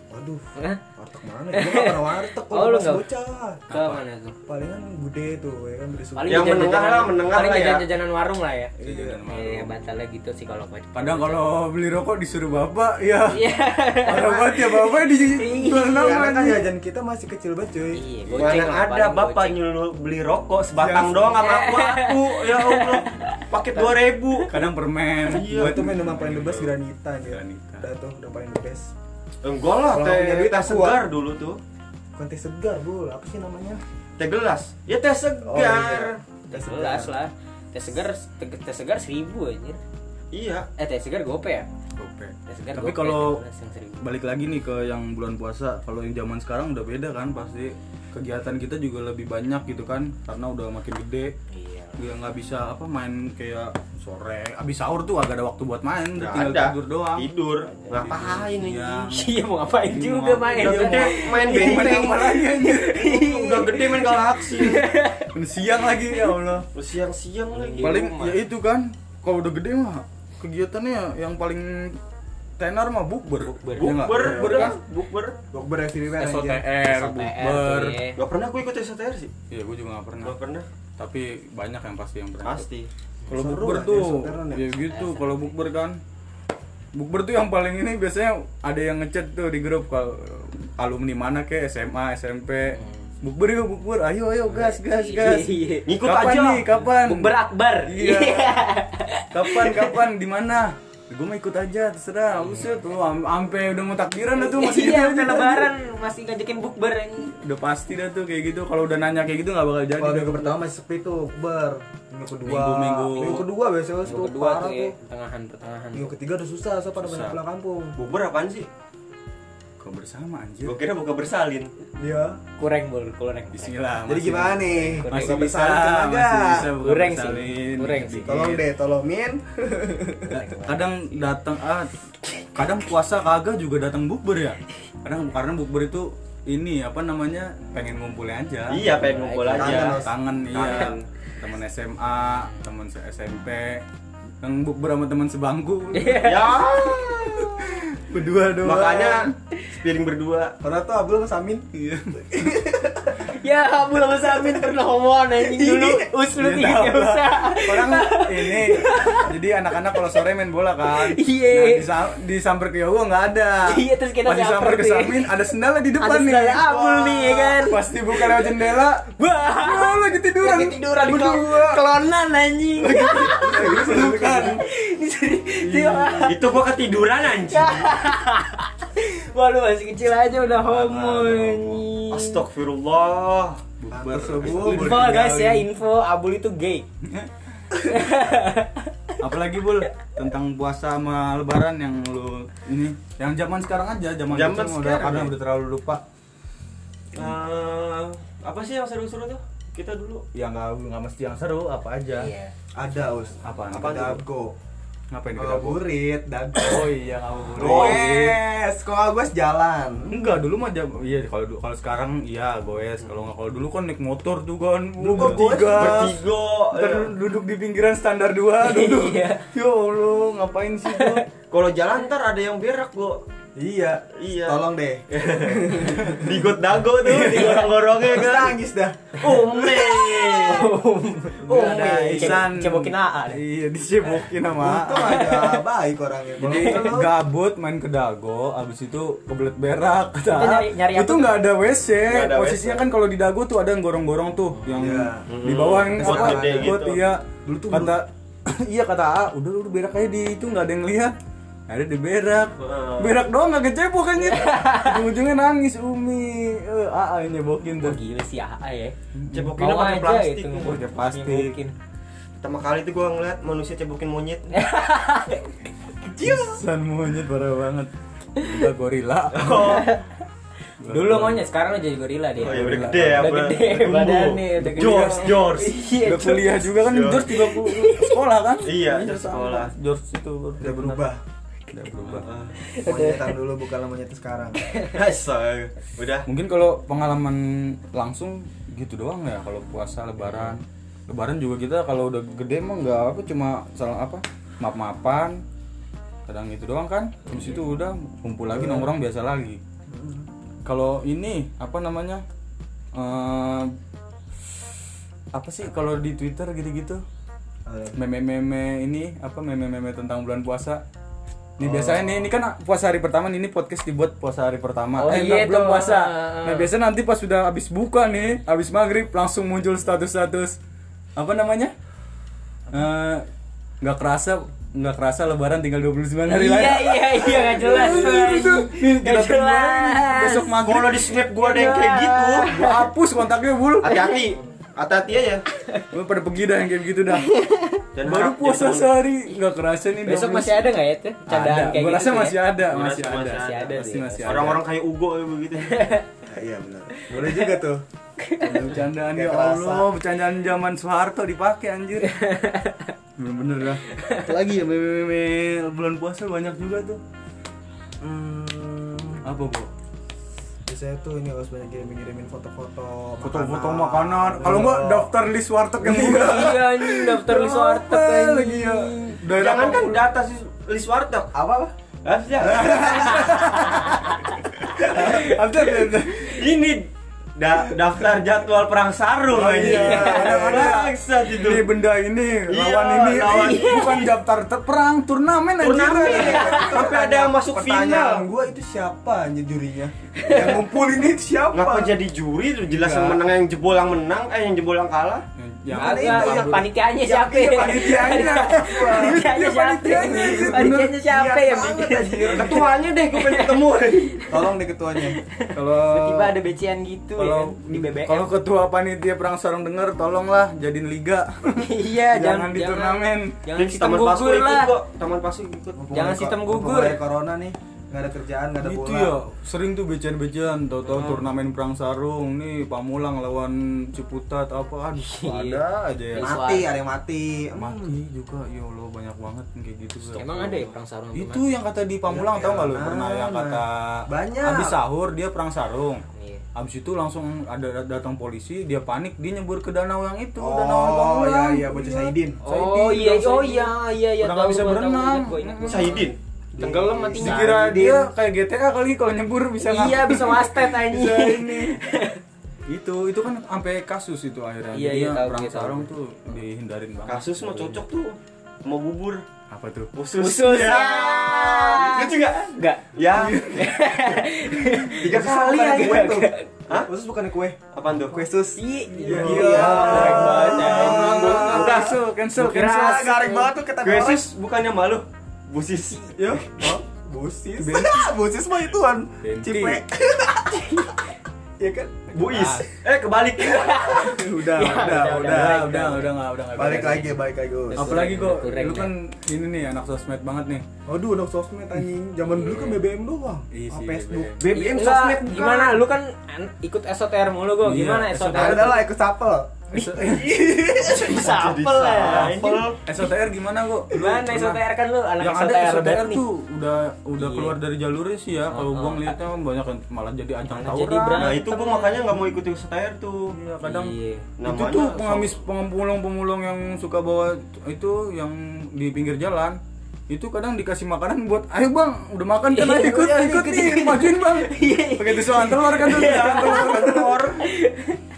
Speaker 3: waduh
Speaker 4: Hah?
Speaker 3: warteg mana ya? Gua nggak pernah warteg
Speaker 4: Oh,
Speaker 3: kalau
Speaker 4: lu
Speaker 3: pas
Speaker 4: nggak-
Speaker 3: bocah
Speaker 4: Ke mana tuh?
Speaker 3: palingan bude tuh ya kan bude suka
Speaker 4: Paling
Speaker 2: Yang
Speaker 4: jajan-jajanan-
Speaker 2: menengah lah, menengah
Speaker 4: paling
Speaker 2: lah ya.
Speaker 4: jajan-jajanan warung lah ya.
Speaker 3: iya
Speaker 4: Iya, batalnya gitu sih kalau gua.
Speaker 1: Padahal kalau beli rokok disuruh bapak, ya
Speaker 4: Iya.
Speaker 1: parah banget ya bapak di jual
Speaker 3: Iya, karena kan
Speaker 1: nama
Speaker 3: jajan kita masih kecil banget cuy
Speaker 4: Iya, goceng
Speaker 2: Mana
Speaker 4: lah,
Speaker 2: ada
Speaker 4: paling
Speaker 2: bapak
Speaker 4: goceng.
Speaker 2: nyuruh beli ya, rokok
Speaker 3: Iya.
Speaker 1: Iya.
Speaker 2: sebatang doang sama aku aku ya Allah paket dua ribu
Speaker 1: Kadang permen.
Speaker 3: Iya, itu main yang paling the best granita ya.
Speaker 1: gitu. Granita.
Speaker 3: Udah tuh, udah paling the best.
Speaker 2: enggak lah
Speaker 3: Kalau punya
Speaker 2: teh
Speaker 3: duit
Speaker 2: teh
Speaker 3: aku,
Speaker 2: ya? segar
Speaker 3: ah.
Speaker 2: dulu tuh
Speaker 3: Bukan teh segar, Bu. Apa sih namanya?
Speaker 2: teh gelas ya teh
Speaker 3: Oh, iya.
Speaker 2: segar
Speaker 3: Teh segar.
Speaker 4: Jelas lah. Teh segar te- teh segar seribu anjir.
Speaker 2: iya
Speaker 4: Eh teh segar gope ya?
Speaker 1: Gopek.
Speaker 4: Teh segar
Speaker 1: Tapi
Speaker 4: gope,
Speaker 1: kalau
Speaker 4: 12 yang seribu.
Speaker 1: balik lagi nih ke yang bulan puasa kalau yang zaman sekarang udah beda kan pasti kegiatan kita juga lebih banyak gitu kan karena udah makin gede
Speaker 4: Iya.
Speaker 1: Dia nggak bisa apa main kayak sore abis sahur tuh agak ada waktu buat main
Speaker 2: nggak
Speaker 1: tinggal
Speaker 2: ada
Speaker 1: tidur doang
Speaker 2: tidur ngapain ini
Speaker 1: Iya.
Speaker 4: Iya mau ngapain
Speaker 1: Iya,
Speaker 4: juga
Speaker 1: mau-
Speaker 4: main.
Speaker 2: udah gede main benteng
Speaker 1: Main apa lagi anjir?
Speaker 2: udah gede main galaksi
Speaker 1: Main siang lagi ya Allah
Speaker 2: siang-siang lagi
Speaker 1: paling ya itu kan kalau udah gede mah kegiatannya yang paling tenar mah bukber bukber ya nggak?
Speaker 2: bukber
Speaker 1: bukber kan
Speaker 2: udah bukber
Speaker 3: Bukber everywhere ya, anjir.
Speaker 1: SOTR
Speaker 4: SOTR,
Speaker 1: bukber
Speaker 4: tuh, iya.
Speaker 2: Gak pernah gue ikut SOTR sih
Speaker 1: ya gue juga nggak pernah
Speaker 2: Gak pernah
Speaker 1: tapi banyak yang pasti yang pernah
Speaker 2: Pasti
Speaker 1: Kalau
Speaker 3: Seru
Speaker 1: bukber
Speaker 3: lah,
Speaker 1: tuh,
Speaker 3: ya, sauteran ya.
Speaker 1: ya gitu. Kalau bukber kan, bukber tuh yang paling ini biasanya ada yang ngechat tuh di grup kalau alumni mana ke SMA, SMP. Bukber yuk, bukber. Ayo, ayo, gas, gas, gas.
Speaker 4: Iya.
Speaker 2: Ngikut
Speaker 1: kapan
Speaker 2: aja.
Speaker 1: nih, kapan?
Speaker 4: Bukber Akbar.
Speaker 1: Iya. kapan, kapan, di mana? Gue mau ikut aja, terserah. Buset, tuh ampe udah mau takbiran dah tuh masih
Speaker 4: Iya,
Speaker 1: gitu
Speaker 4: udah
Speaker 1: aja.
Speaker 4: lebaran masih ngajakin bukber anjing.
Speaker 1: Udah pasti dah tuh kayak gitu. Kalau udah nanya kayak gitu nggak bakal jadi.
Speaker 3: Kalau
Speaker 1: dah.
Speaker 3: minggu pertama masih sepi tuh, bukber. Minggu kedua,
Speaker 1: Minggu- minggu. iya.
Speaker 3: kedua biasanya
Speaker 4: Minggu
Speaker 3: tuh
Speaker 4: kedua
Speaker 3: parah
Speaker 4: tuh ya,
Speaker 3: tuh.
Speaker 4: pertengahan pertengahan.
Speaker 3: Minggu ketiga udah susah, soalnya pada banyak pulang kampung.
Speaker 2: Bukber apaan sih?
Speaker 1: Buka bersama anjir.
Speaker 2: Gue kira buka bersalin.
Speaker 3: Iya.
Speaker 4: kurang bol kalau naik bis
Speaker 1: Bismillah.
Speaker 3: Jadi
Speaker 1: Nah, masih-
Speaker 3: gimana nih?
Speaker 1: Masih
Speaker 3: Buka
Speaker 1: bisa,
Speaker 3: bersalin kagak?
Speaker 1: masih bisa buka
Speaker 4: Kurang sih,
Speaker 1: bersalin.
Speaker 4: kurang sih.
Speaker 3: Tolong deh, tolongin.
Speaker 1: Iya. Kadang datang ah kadang puasa kagak juga datang bukber ya. Kadang karena bukber itu ini apa namanya pengen ngumpul aja.
Speaker 2: Iya, pengen ngumpul aja.
Speaker 1: Kangen iya. Temen SMA, temen se- SMP. Yang bukber sama temen sebangku.
Speaker 2: Ya,
Speaker 1: Berdua doang.
Speaker 2: makanya piring berdua.
Speaker 3: Karena tuh Abdul sama Samin.
Speaker 1: Iya.
Speaker 4: ya Abul sama Samin pernah omongan anjing dulu uslu
Speaker 1: Iya,
Speaker 4: tiga
Speaker 1: tahu.
Speaker 4: usah
Speaker 1: orang ini jadi anak-anak kalau sore main bola kan
Speaker 4: Iya.
Speaker 1: nah, disa- disamper ke Yogo nggak ada
Speaker 4: Iya, terus kita
Speaker 1: pas disamper ke
Speaker 4: samper nih.
Speaker 1: Samin ada sendalnya di depan
Speaker 4: Ada
Speaker 1: nih
Speaker 4: sendalnya Abul nih, ya kan?
Speaker 1: pasti buka lewat jendela
Speaker 4: wah
Speaker 1: Wah, lagi tiduran
Speaker 4: lagi tiduran
Speaker 1: berdua
Speaker 4: kelo- kelonan anjing
Speaker 1: bukan
Speaker 4: Iya.
Speaker 2: Itu gua ketiduran anjing.
Speaker 4: Wah lu masih kecil aja udah homo
Speaker 1: Parah,
Speaker 4: anjing.
Speaker 2: Astagfirullah.
Speaker 3: Iya.
Speaker 1: bukber
Speaker 4: Info guys ya, info Abul itu gay.
Speaker 1: apalagi bul tentang puasa sama lebaran yang lu ini yang zaman sekarang aja zaman,
Speaker 2: Zaman
Speaker 1: kecil udah
Speaker 2: sekarang,
Speaker 1: karena
Speaker 2: ya.
Speaker 1: udah terlalu lupa
Speaker 2: Eh, apa sih yang seru-seru tuh? Kita dulu.
Speaker 1: ya nggak nggak mesti yang seru apa aja
Speaker 4: Iya.
Speaker 3: Ada, Us.
Speaker 1: Apaan?
Speaker 3: Apa
Speaker 1: Apaan
Speaker 3: dago? Eh,
Speaker 1: ngapain di kedapur?
Speaker 3: Ngabuburit, dago.
Speaker 1: oh iya ngabuburit
Speaker 3: Goes, sekolah gue sejalan.
Speaker 1: Enggak, dulu mah jam iya kalau du- kalau sekarang iya goes. Kalau nggak kalau dulu kan naik motor tuh kan
Speaker 3: Dulu
Speaker 1: uh, bertiga.
Speaker 2: Bertiga.
Speaker 1: Ntar duduk di pinggiran standar dua duduk.
Speaker 4: Iya.
Speaker 1: ya Allah, ngapain sih tuh?
Speaker 2: Kalau jalan ntar ada yang berak gua.
Speaker 3: Iya.
Speaker 2: Iya.
Speaker 3: Tolong deh.
Speaker 2: Digot dago tuh, digorong-gorongnya
Speaker 3: Terus
Speaker 2: kan.
Speaker 3: nangis dah. Ah,
Speaker 2: Ome.
Speaker 4: Oh,
Speaker 1: Gila, ada
Speaker 4: men.
Speaker 1: Iksan.
Speaker 4: Cebokin AA deh.
Speaker 1: Iya, dicebokin sama.
Speaker 3: Untung ah, ada baik orangnya. Kalau
Speaker 1: Jadi
Speaker 3: enggak lu-
Speaker 1: gabut main ke dago, abis itu kebelet berak. kata
Speaker 4: Itu nyari- nyari
Speaker 1: A.
Speaker 4: apa
Speaker 1: itu
Speaker 4: tuh?
Speaker 1: nggak ada WC.
Speaker 2: Nggak ada
Speaker 1: Posisinya
Speaker 2: WC.
Speaker 1: kan kalau di dago tuh ada yang gorong-gorong tuh yang
Speaker 3: Iya.
Speaker 1: di bawah yang
Speaker 3: Pot
Speaker 1: apa?
Speaker 3: gede
Speaker 1: Pot,
Speaker 2: gitu.
Speaker 1: iya. Dulu tuh kata iya kata A, udah lu berak aja di itu nggak ada yang lihat. Ada di berak.
Speaker 2: Heeh.
Speaker 1: Berak doang nggak kecebok kan ya. Ujung-ujungnya nangis Umi. Eh, AA yang nyebokin tuh.
Speaker 4: Wah gila sih AA ya.
Speaker 2: Cebokin pakai
Speaker 4: Bawa aja gitu.
Speaker 2: plastik.
Speaker 4: itu,
Speaker 1: Pakai plastik.
Speaker 4: nyebokin.
Speaker 2: Pertama kali tuh gua ngeliat manusia cebokin monyet.
Speaker 1: San monyet parah banget. Udah gorila.
Speaker 2: Oh,
Speaker 4: Dulu monyet, sekarang udah jadi gorila dia.
Speaker 2: oh
Speaker 1: iya,
Speaker 2: ya udah gede ya.
Speaker 4: Udah
Speaker 2: Bang.
Speaker 4: gede
Speaker 2: Tumbuh.
Speaker 4: badannya, udah gede.
Speaker 2: Jors, jors.
Speaker 4: Iya,
Speaker 1: Udah kuliah juga kan
Speaker 2: George.
Speaker 1: George juga ku- sekolah kan?
Speaker 2: Iya,
Speaker 1: George sama.
Speaker 2: sekolah. Ah,
Speaker 1: George itu
Speaker 3: udah berubah.
Speaker 1: Udah berubah.
Speaker 3: Monyetan dulu bukan monyet sekarang.
Speaker 2: Asal. eh, Udah.
Speaker 1: Mungkin kalau pengalaman langsung gitu doang ya kalau puasa lebaran. Lebaran juga kita kalau udah gede mah nggak apa cuma salah apa? Maaf-maafan. Kadang gitu doang kan. Habis itu udah kumpul lagi nongkrong biasa lagi. Kalau ini apa namanya? Eh, apa sih kalau di Twitter gitu-gitu?
Speaker 3: Eh,
Speaker 1: meme-meme ini apa meme-meme tentang bulan puasa
Speaker 4: Oh.
Speaker 1: ini biasanya nih ini kan puasa hari pertama nih, ini podcast dibuat puasa hari pertama
Speaker 4: Oh,
Speaker 1: eh
Speaker 4: iya
Speaker 1: enggak, belum
Speaker 4: tuh. ah.
Speaker 1: puasa
Speaker 4: Heeh.
Speaker 1: nah biasanya nanti pas sudah habis buka nih habis maghrib langsung muncul status-status apa namanya Eh, nggak kerasa nggak kerasa lebaran tinggal 29 hari lagi
Speaker 4: Iya, iya, iya, nggak jelas.
Speaker 1: Itu, itu, itu. Nih, kita tunggu aja
Speaker 4: Nggak
Speaker 1: nih,
Speaker 4: jelas.
Speaker 1: besok maghrib Iya.
Speaker 2: Kalau di snap gua ada yang kayak gitu,
Speaker 1: gua hapus kontaknya bul
Speaker 2: hati-hati. Hati-hati aja.
Speaker 1: Gua pada pergi dah yang kayak gitu dah
Speaker 2: Jangan
Speaker 1: baru
Speaker 2: harap,
Speaker 1: puasa
Speaker 2: jangan-
Speaker 1: sehari nggak kerasa nih
Speaker 4: Besok
Speaker 1: 29.
Speaker 4: masih ada nggak ya tuh candaan
Speaker 1: ada.
Speaker 4: kayak
Speaker 1: Gua
Speaker 4: gitu?
Speaker 1: rasa
Speaker 4: tuh ya?
Speaker 1: masih ada,
Speaker 2: Gua
Speaker 1: masih
Speaker 2: rasa
Speaker 1: ada.
Speaker 2: masih ada
Speaker 1: Pasti
Speaker 4: sih.
Speaker 1: masih ada.
Speaker 2: Orang-orang kayak Ugo ya begitu.
Speaker 3: iya benar. Boleh juga tuh.
Speaker 1: Aduh, bercandaan ya
Speaker 3: Kayak kerasa.
Speaker 1: Allah, bercandaan zaman Soeharto dipakai anjir. Bener-bener dah. Lagi ya meme-meme bulan puasa banyak juga tuh.
Speaker 3: Hmm,
Speaker 1: Apa, Bu?
Speaker 3: biasanya tuh ini harus banyak kirim-kirimin foto-foto
Speaker 1: Foto-foto makanan. Kalau enggak
Speaker 3: Iya.
Speaker 1: daftar list warteg yang buka.
Speaker 4: Iya anjing daftar di warteg
Speaker 1: Apa
Speaker 4: anjing.
Speaker 1: lagi ya. Daerah
Speaker 2: Jangan kan
Speaker 1: apa-
Speaker 2: data sih list warteg.
Speaker 3: apa apa
Speaker 2: Ah, sudah.
Speaker 1: Apa apa-
Speaker 2: Ini da- daftar jadwal perang sarung aja.
Speaker 1: iya.
Speaker 2: Bangsat itu.
Speaker 1: Ini benda ini,
Speaker 2: Iya,
Speaker 1: lawan ini,
Speaker 2: lawan.
Speaker 1: Eh, bukan daftar te- perang, turnamen anjir.
Speaker 2: Turnamen. Tapi ada yang masuk
Speaker 3: pertanyaan
Speaker 2: final.
Speaker 3: gue itu siapa anjir jurinya yang ngumpulin itu siapa
Speaker 2: Ngapa jadi juri tuh jelas
Speaker 1: Iya.
Speaker 2: yang menang yang jebol yang menang eh yang jebol yang kalah.
Speaker 1: Yang
Speaker 3: Ada
Speaker 4: Iya,
Speaker 3: itu
Speaker 4: iya,
Speaker 3: yang-
Speaker 4: panitianya
Speaker 3: Iya,
Speaker 4: siapa? ya?
Speaker 3: iya, panitianya.
Speaker 4: Panitianya
Speaker 3: Iya,
Speaker 4: siapa?
Speaker 3: panitianya, anjir,
Speaker 4: ya? Panitianya
Speaker 3: bener.
Speaker 4: siapa ya?
Speaker 3: Iya
Speaker 4: yang
Speaker 3: banget,
Speaker 4: bikin?
Speaker 3: anjir.
Speaker 2: Ketuanya deh gue
Speaker 1: Oh.
Speaker 2: pengen ketemu.
Speaker 3: tolong deh ketuanya
Speaker 1: kalau
Speaker 4: Tiba-tiba ada becian gitu ya
Speaker 1: kalau
Speaker 4: kan, di BBM.
Speaker 1: kalau ketua panitia perang sarung denger tolonglah jadiin liga
Speaker 4: Iya,
Speaker 3: Ya,
Speaker 1: Jangan
Speaker 4: jangan
Speaker 1: di
Speaker 4: jangan-
Speaker 1: turnamen.
Speaker 4: Jangan sistem
Speaker 2: Pasu
Speaker 4: gugur
Speaker 2: ikut
Speaker 4: lah.
Speaker 2: kok. Taman Pasu ikut.
Speaker 3: Mumpung
Speaker 4: Jangan
Speaker 3: ada-
Speaker 4: sistem
Speaker 3: mumpung
Speaker 4: gugur.
Speaker 3: ada corona nih nggak ada kerjaan nggak ada
Speaker 1: itu
Speaker 3: bola
Speaker 1: ya sering tuh becian-becian tahu-tahu turnamen perang sarung nih Pamulang lawan Ciputat apa aduh
Speaker 3: Iya.
Speaker 1: ada aja ya
Speaker 3: mati ada yang mati
Speaker 1: mati juga ya Allah banyak banget yang kayak gitu Bro.
Speaker 4: Emang ada ya perang sarung
Speaker 1: itu yang kata di Pamulang tau
Speaker 4: Iya.
Speaker 1: nggak lo pernah yang kata
Speaker 3: Banyak.
Speaker 1: habis sahur dia perang sarung
Speaker 4: Iya.
Speaker 1: Abis itu langsung ada datang polisi, dia panik, dia nyebur ke danau yang itu,
Speaker 3: Oh,
Speaker 1: danau Pamulang.
Speaker 3: iya, iya, bocah Saidin.
Speaker 4: Oh
Speaker 1: Saidin,
Speaker 4: iya,
Speaker 1: danau
Speaker 4: oh
Speaker 1: Saidin.
Speaker 4: iya, iya, iya.
Speaker 1: Udah
Speaker 4: tahu
Speaker 1: nggak bisa
Speaker 4: gua, tahu,
Speaker 1: berenang.
Speaker 4: ingat gua, ingat gua.
Speaker 2: Syahidin
Speaker 4: Tenggelam matinya.
Speaker 1: Dikira dia kayak GTA kali kalau nyebur bisa nggak?
Speaker 4: Iya, bisa wastet
Speaker 1: Bisa
Speaker 4: anjing.
Speaker 1: ini. itu itu kan sampai kasus itu akhirnya.
Speaker 4: Iya,
Speaker 1: Jadinya
Speaker 4: iya, tahu,
Speaker 1: perang
Speaker 4: iya, tahu.
Speaker 1: sarung tuh dihindarin banget.
Speaker 2: kasus mah cocok tuh mau bubur
Speaker 1: Apa tuh?
Speaker 2: khusus
Speaker 4: Khusus.
Speaker 2: ya.
Speaker 4: Ah.
Speaker 2: lucu nggak
Speaker 4: Enggak.
Speaker 2: ya tiga kali
Speaker 3: bukan kue
Speaker 2: aja
Speaker 3: tuh
Speaker 2: Hah?
Speaker 3: khusus bukan kue
Speaker 2: apaan tuh
Speaker 3: kue sus
Speaker 4: Iya.
Speaker 3: Iya.
Speaker 4: Korek banget
Speaker 2: ya.
Speaker 4: anjing. Gua-
Speaker 1: Udah, cancel, cancel, cancel.
Speaker 3: Kira garing banget tuh kata
Speaker 2: kue sus bukannya malu busis
Speaker 3: ya bosis
Speaker 1: Ben-
Speaker 3: bosis mah ituan
Speaker 1: Benti.
Speaker 3: cipe ya kan
Speaker 2: buis eh kebalik
Speaker 1: udah,
Speaker 4: Ya,
Speaker 1: udah, udah,
Speaker 4: udah, udah,
Speaker 1: udah, udah, nggak, udah, nggak
Speaker 3: balik
Speaker 1: bisa.
Speaker 3: lagi balik lagi Us.
Speaker 1: Apalagi kok,
Speaker 4: Udah kurang,
Speaker 1: lu kan ini nih anak sosmed banget nih.
Speaker 3: aduh udah sosmed anjing zaman dulu kan BBM doang
Speaker 1: Iya
Speaker 3: Ah,
Speaker 1: sih,
Speaker 3: Facebook
Speaker 1: BBM.
Speaker 2: BBM
Speaker 4: Iya, Enggak,
Speaker 2: sosmed bukan.
Speaker 4: Gimana? Lu kan an- ikut SOTR mulu gua.
Speaker 1: Iya,
Speaker 4: Gimana
Speaker 1: SOTR?
Speaker 4: SOTR?
Speaker 3: ada lah ikut sapel
Speaker 1: kan
Speaker 4: Bisa
Speaker 2: Jadi
Speaker 4: apel ya. anjing.
Speaker 2: sapel.
Speaker 1: SOTR gimana kok? Lu
Speaker 4: Gimana
Speaker 1: pernah-
Speaker 4: SOTR kan lu anak
Speaker 1: yang ada
Speaker 4: SOTR
Speaker 1: SOTR
Speaker 4: banget nih.
Speaker 1: tuh udah udah
Speaker 4: Iya.
Speaker 1: keluar dari jalurnya sih ya kalau
Speaker 4: Oh,
Speaker 1: gua
Speaker 4: oh.
Speaker 1: ngeliatnya banyak yang malah jadi ajang
Speaker 4: Malah jadi
Speaker 1: tawuran
Speaker 2: Nah itu gua makanya nggak mau ikutin setair tuh.
Speaker 1: Iya, kadang
Speaker 4: Iya.
Speaker 1: itu
Speaker 2: Namanya
Speaker 1: tuh pengamis pemulung-pemulung yang suka bawa itu yang di pinggir jalan itu kadang dikasih makanan buat ayo bang udah makan kan ayo
Speaker 4: Iya,
Speaker 1: ikut
Speaker 4: iya,
Speaker 1: ikut
Speaker 4: ikut,
Speaker 1: nih
Speaker 4: ikut."
Speaker 1: majuin bang
Speaker 4: Iya.
Speaker 1: pakai tisu telur kan tuh tisu telur telur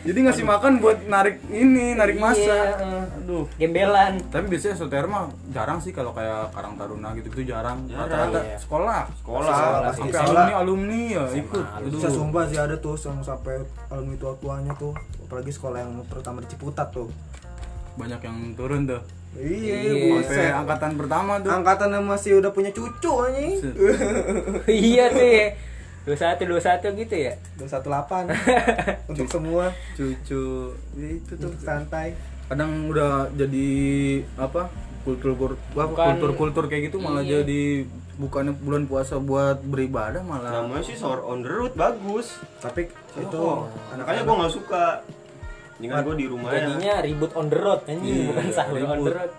Speaker 1: jadi ngasih makan buat narik ini narik masa
Speaker 4: Iya, eh.
Speaker 1: aduh
Speaker 4: Gembelan.
Speaker 1: tapi biasanya SOTR mah jarang sih kalau kayak Karang Taruna gitu itu jarang
Speaker 2: Jarang,
Speaker 1: rata-rata
Speaker 4: iya.
Speaker 1: sekolah
Speaker 2: sekolah.
Speaker 3: Sekolah.
Speaker 1: sampai
Speaker 3: Iya,
Speaker 1: alumni alumni ya ikut Aduh.
Speaker 3: Bisa sumpah sih ada tuh yang sampai alumni tua tuanya tuh, apalagi sekolah yang terutama di Ciputat tuh.
Speaker 1: banyak yang turun tuh
Speaker 3: Iya,
Speaker 1: sampai
Speaker 3: buset.
Speaker 1: angkatan pertama tuh
Speaker 3: Angkatan yang masih udah punya cucu anjing. Eh,
Speaker 1: Buset.
Speaker 4: Iya tuh ya. 21 21 gitu ya.
Speaker 3: 218 untuk semua
Speaker 1: cucu ya itu tuh
Speaker 3: untuk santai.
Speaker 1: kadang udah jadi apa kultur
Speaker 4: Bukan-
Speaker 1: kultur kultur kayak gitu malah jadi bukannya bulan puasa buat beribadah malah
Speaker 2: namanya sih sore on the road bagus.
Speaker 3: Tapi itu
Speaker 2: Oh, makanya gua nggak suka. Dengan gua di rumah ya.
Speaker 4: Jadinya ribut on the road anjing,
Speaker 1: Iya,
Speaker 4: bukan sahur on the
Speaker 1: ribut.
Speaker 4: road.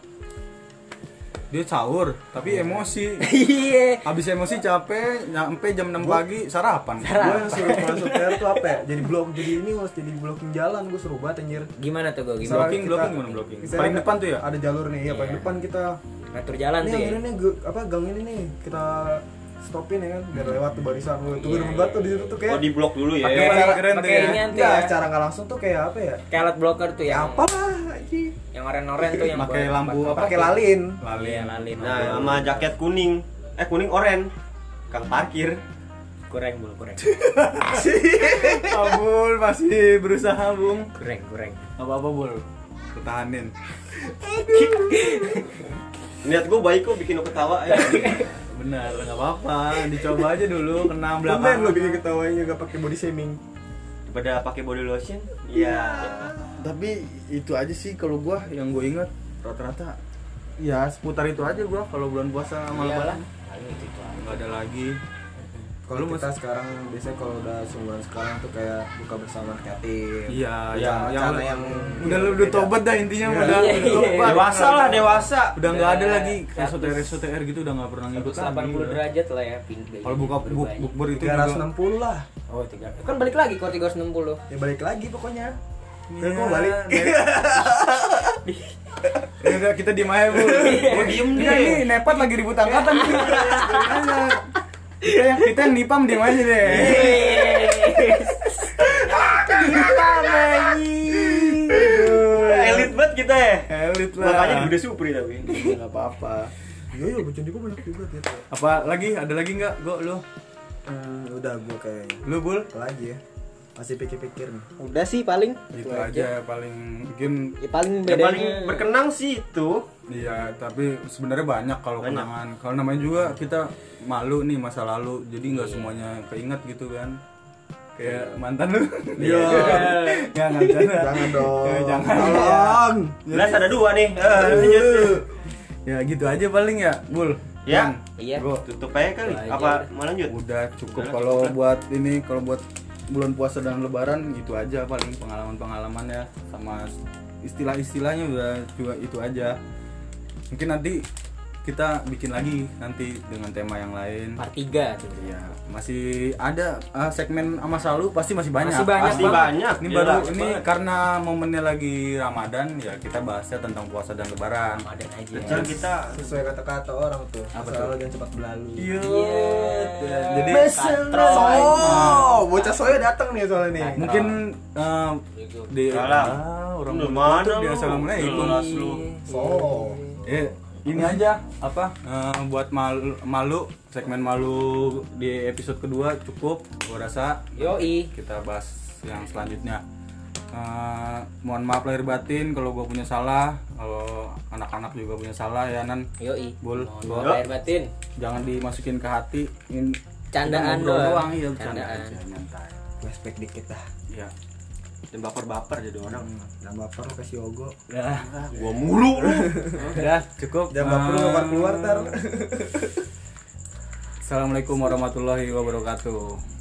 Speaker 1: dia sahur tapi emosi
Speaker 4: Iya.
Speaker 1: habis emosi capek nyampe jam 6 pagi sarapan
Speaker 3: gue yang suruh masuk PR tuh apa ya? Jadi blok jadi ini harus jadi blocking jalan gue suruh banget anjir.
Speaker 4: Gimana tuh gua gimana?
Speaker 3: Misalnya
Speaker 1: Blocking,
Speaker 3: kita-
Speaker 1: blocking, gimana blocking?
Speaker 3: misalnya
Speaker 1: Paling
Speaker 3: ada-
Speaker 1: depan tuh ya?
Speaker 3: Ada jalur nih, ya paling
Speaker 4: Iya.
Speaker 3: depan kita
Speaker 4: Ngatur jalan
Speaker 3: Ini
Speaker 4: tuh
Speaker 3: yang
Speaker 4: ya.
Speaker 3: ini nih, gue- apa gang ini nih kita stopin ya kan biar lewat tuh barisan lu. Itu gue
Speaker 4: Iya,
Speaker 3: demen banget tuh
Speaker 4: iya,
Speaker 3: di situ tuh
Speaker 2: Oh
Speaker 3: kayak
Speaker 2: di blok dulu ya.
Speaker 1: Pakai-
Speaker 4: Pakai
Speaker 1: paling keren tuh
Speaker 4: pakai
Speaker 1: ya.
Speaker 4: inian tuh
Speaker 3: Enggak,
Speaker 4: ya.
Speaker 3: secara nggak langsung tuh kayak apa ya?
Speaker 4: Kayak blocker tuh
Speaker 3: Ya
Speaker 4: yang
Speaker 3: apalah, anjing.
Speaker 4: yang orang-orang tuh yang
Speaker 1: pakai
Speaker 4: buat-
Speaker 1: lampu apa
Speaker 3: Pakai lalin.
Speaker 4: Iya,
Speaker 1: lalin
Speaker 4: lalin.
Speaker 2: Nah sama jaket kuning. Eh kuning oren. Kang parkir.
Speaker 4: kurang bul kurang.
Speaker 1: Abul Oh, masih berusaha bung
Speaker 4: Kurang kurang.
Speaker 1: apa apa bul pertahanin
Speaker 2: Niat gua baik kok bikin lu ketawa ya.
Speaker 1: benar nggak apa apa dicoba aja dulu kena
Speaker 3: Tumben
Speaker 1: belakang
Speaker 3: lu bikin ketawanya nggak pakai body shaming.
Speaker 2: Daripada pakai body lotion. Iya.
Speaker 1: tapi itu aja sih kalau gua yang gua ingat rata-rata ya seputar itu aja gua kalau bulan puasa
Speaker 4: Iyalah.
Speaker 1: malam-malam nggak ada lagi
Speaker 3: Kalau
Speaker 1: Lu
Speaker 3: kita sekarang biasanya kalau udah sungguhan sekarang tuh kayak buka bersama kreatif.
Speaker 1: iya
Speaker 3: Ya,
Speaker 1: yang yang,
Speaker 3: cara yang
Speaker 1: udah lu udah
Speaker 3: beda.
Speaker 1: tobat gitu dah intinya
Speaker 3: Iya.
Speaker 1: udah
Speaker 4: Iya, iya, iya.
Speaker 1: tobat.
Speaker 2: Dewasa lah dewasa.
Speaker 1: udah nggak ada lagi
Speaker 4: Udah
Speaker 1: SOTR SOTR gitu udah nggak pernah ngikut lagi
Speaker 4: 180 derajat lah ya pindah.
Speaker 1: kalau buka buk, bukber itu juga
Speaker 3: 360 lah.
Speaker 4: Oh, tiga. Kan balik lagi kalau 360.
Speaker 3: Ya balik lagi pokoknya.
Speaker 1: Iya,
Speaker 3: Ya, gua balik.
Speaker 1: Ya udah kita diem aja bu. Gue
Speaker 2: diem
Speaker 1: Ini,
Speaker 2: deh.
Speaker 1: ini nepat lagi ribut angkatan. Bu. Gimana? kita yang kita yang nipam diem aja deh. Nipam anjing. Aduh.
Speaker 2: Elit banget kita ya.
Speaker 1: Elit Iya. lah. Iya,
Speaker 2: Makanya di Bunda Supri tapi.
Speaker 1: Nggak apa-apa.
Speaker 3: Yo yo bercanda gue banyak juga gitu.
Speaker 1: Apa lagi? Ada lagi nggak? Gue lu,
Speaker 3: Hmm, udah gue kayaknya.
Speaker 1: lu bul.
Speaker 3: Apa lagi ya? Masih pikir-pikir nih.
Speaker 4: Udah sih paling
Speaker 1: Itu Gitu aja paling mungkin
Speaker 4: Ya paling
Speaker 2: Yang
Speaker 4: bedanya
Speaker 2: paling berkenang sih itu
Speaker 1: Iya, tapi sebenarnya banyak kalau kenangan. Kalau namanya juga kita malu nih masa lalu, jadi nggak semuanya keinget gitu kan. Kayak mantan lu. Iya. Nggak nggak bercanda.
Speaker 3: Jangan dong.
Speaker 1: Eh, Jangan.
Speaker 3: Tolong.
Speaker 1: Iya.
Speaker 2: Belas ada dua nih. Eh, lanjut.
Speaker 1: Ya gitu aja paling ya, Bul.
Speaker 2: Ya,
Speaker 4: Iya.
Speaker 1: Gua
Speaker 2: tutup aja kali.
Speaker 4: Tutup aja
Speaker 2: Apa
Speaker 4: udah.
Speaker 2: mau lanjut?
Speaker 1: udah cukup
Speaker 2: Udah,
Speaker 1: kalau
Speaker 2: cukup ya.
Speaker 1: buat ini kalau buat bulan puasa dan lebaran gitu aja paling pengalaman pengalamannya sama istilah-istilahnya udah juga itu aja mungkin nanti kita bikin lagi nanti dengan tema yang lain
Speaker 4: Part gitu. 3 tuh.
Speaker 1: ya masih ada ah, segmen sama Salu pasti masih banyak
Speaker 4: Masih banyak
Speaker 2: Pasti
Speaker 4: banget.
Speaker 2: banyak.
Speaker 1: ini
Speaker 2: Gila,
Speaker 1: baru
Speaker 2: banyak
Speaker 1: ini
Speaker 2: banget.
Speaker 1: karena momennya lagi Ramadan ya kita bahasnya tentang puasa dan lebaran
Speaker 4: Ramadan aja.
Speaker 2: Betul kita
Speaker 3: sesuai kata-kata orang tuh
Speaker 1: Apa
Speaker 3: masa
Speaker 1: tuh?
Speaker 3: lalu jangan cepat berlalu
Speaker 2: Iya.
Speaker 1: Iya. Jadi
Speaker 4: Katrol.
Speaker 1: Ah.
Speaker 3: oh bocah soya datang nih soalnya nih
Speaker 1: mungkin eh, di
Speaker 2: Salam.
Speaker 1: Ah, orang
Speaker 2: Lu
Speaker 1: Bogor
Speaker 2: mana
Speaker 1: tuh
Speaker 2: lu?
Speaker 1: dia assalamualaikum.
Speaker 2: Jelas lu.
Speaker 3: so
Speaker 1: Eh, ini aja apa eh, buat malu, malu segmen malu di episode kedua cukup gua rasa
Speaker 4: Yoi.
Speaker 1: kita bahas yang selanjutnya Eh, mohon maaf lahir batin kalau gua punya salah kalau anak-anak juga punya salah ya nan
Speaker 4: Yoi.
Speaker 1: bol
Speaker 4: Mohon
Speaker 1: Bol.
Speaker 4: lahir batin.
Speaker 1: jangan dimasukin ke hati ini kita
Speaker 4: Candaan
Speaker 1: ngobrol
Speaker 4: doang.
Speaker 1: doang iya candaan
Speaker 4: Candaan.
Speaker 1: aja nyantai
Speaker 3: flashback dikit dah
Speaker 1: iya
Speaker 2: dan baper-baper jadi orang. Nah,
Speaker 3: jangan baper lu kasih ogo
Speaker 1: udah
Speaker 2: Gua mulu lu.
Speaker 1: Ya, udah cukup
Speaker 3: jangan baper lu
Speaker 1: Eh,
Speaker 3: keluar keluar tar
Speaker 1: Assalamualaikum warahmatullahi wabarakatuh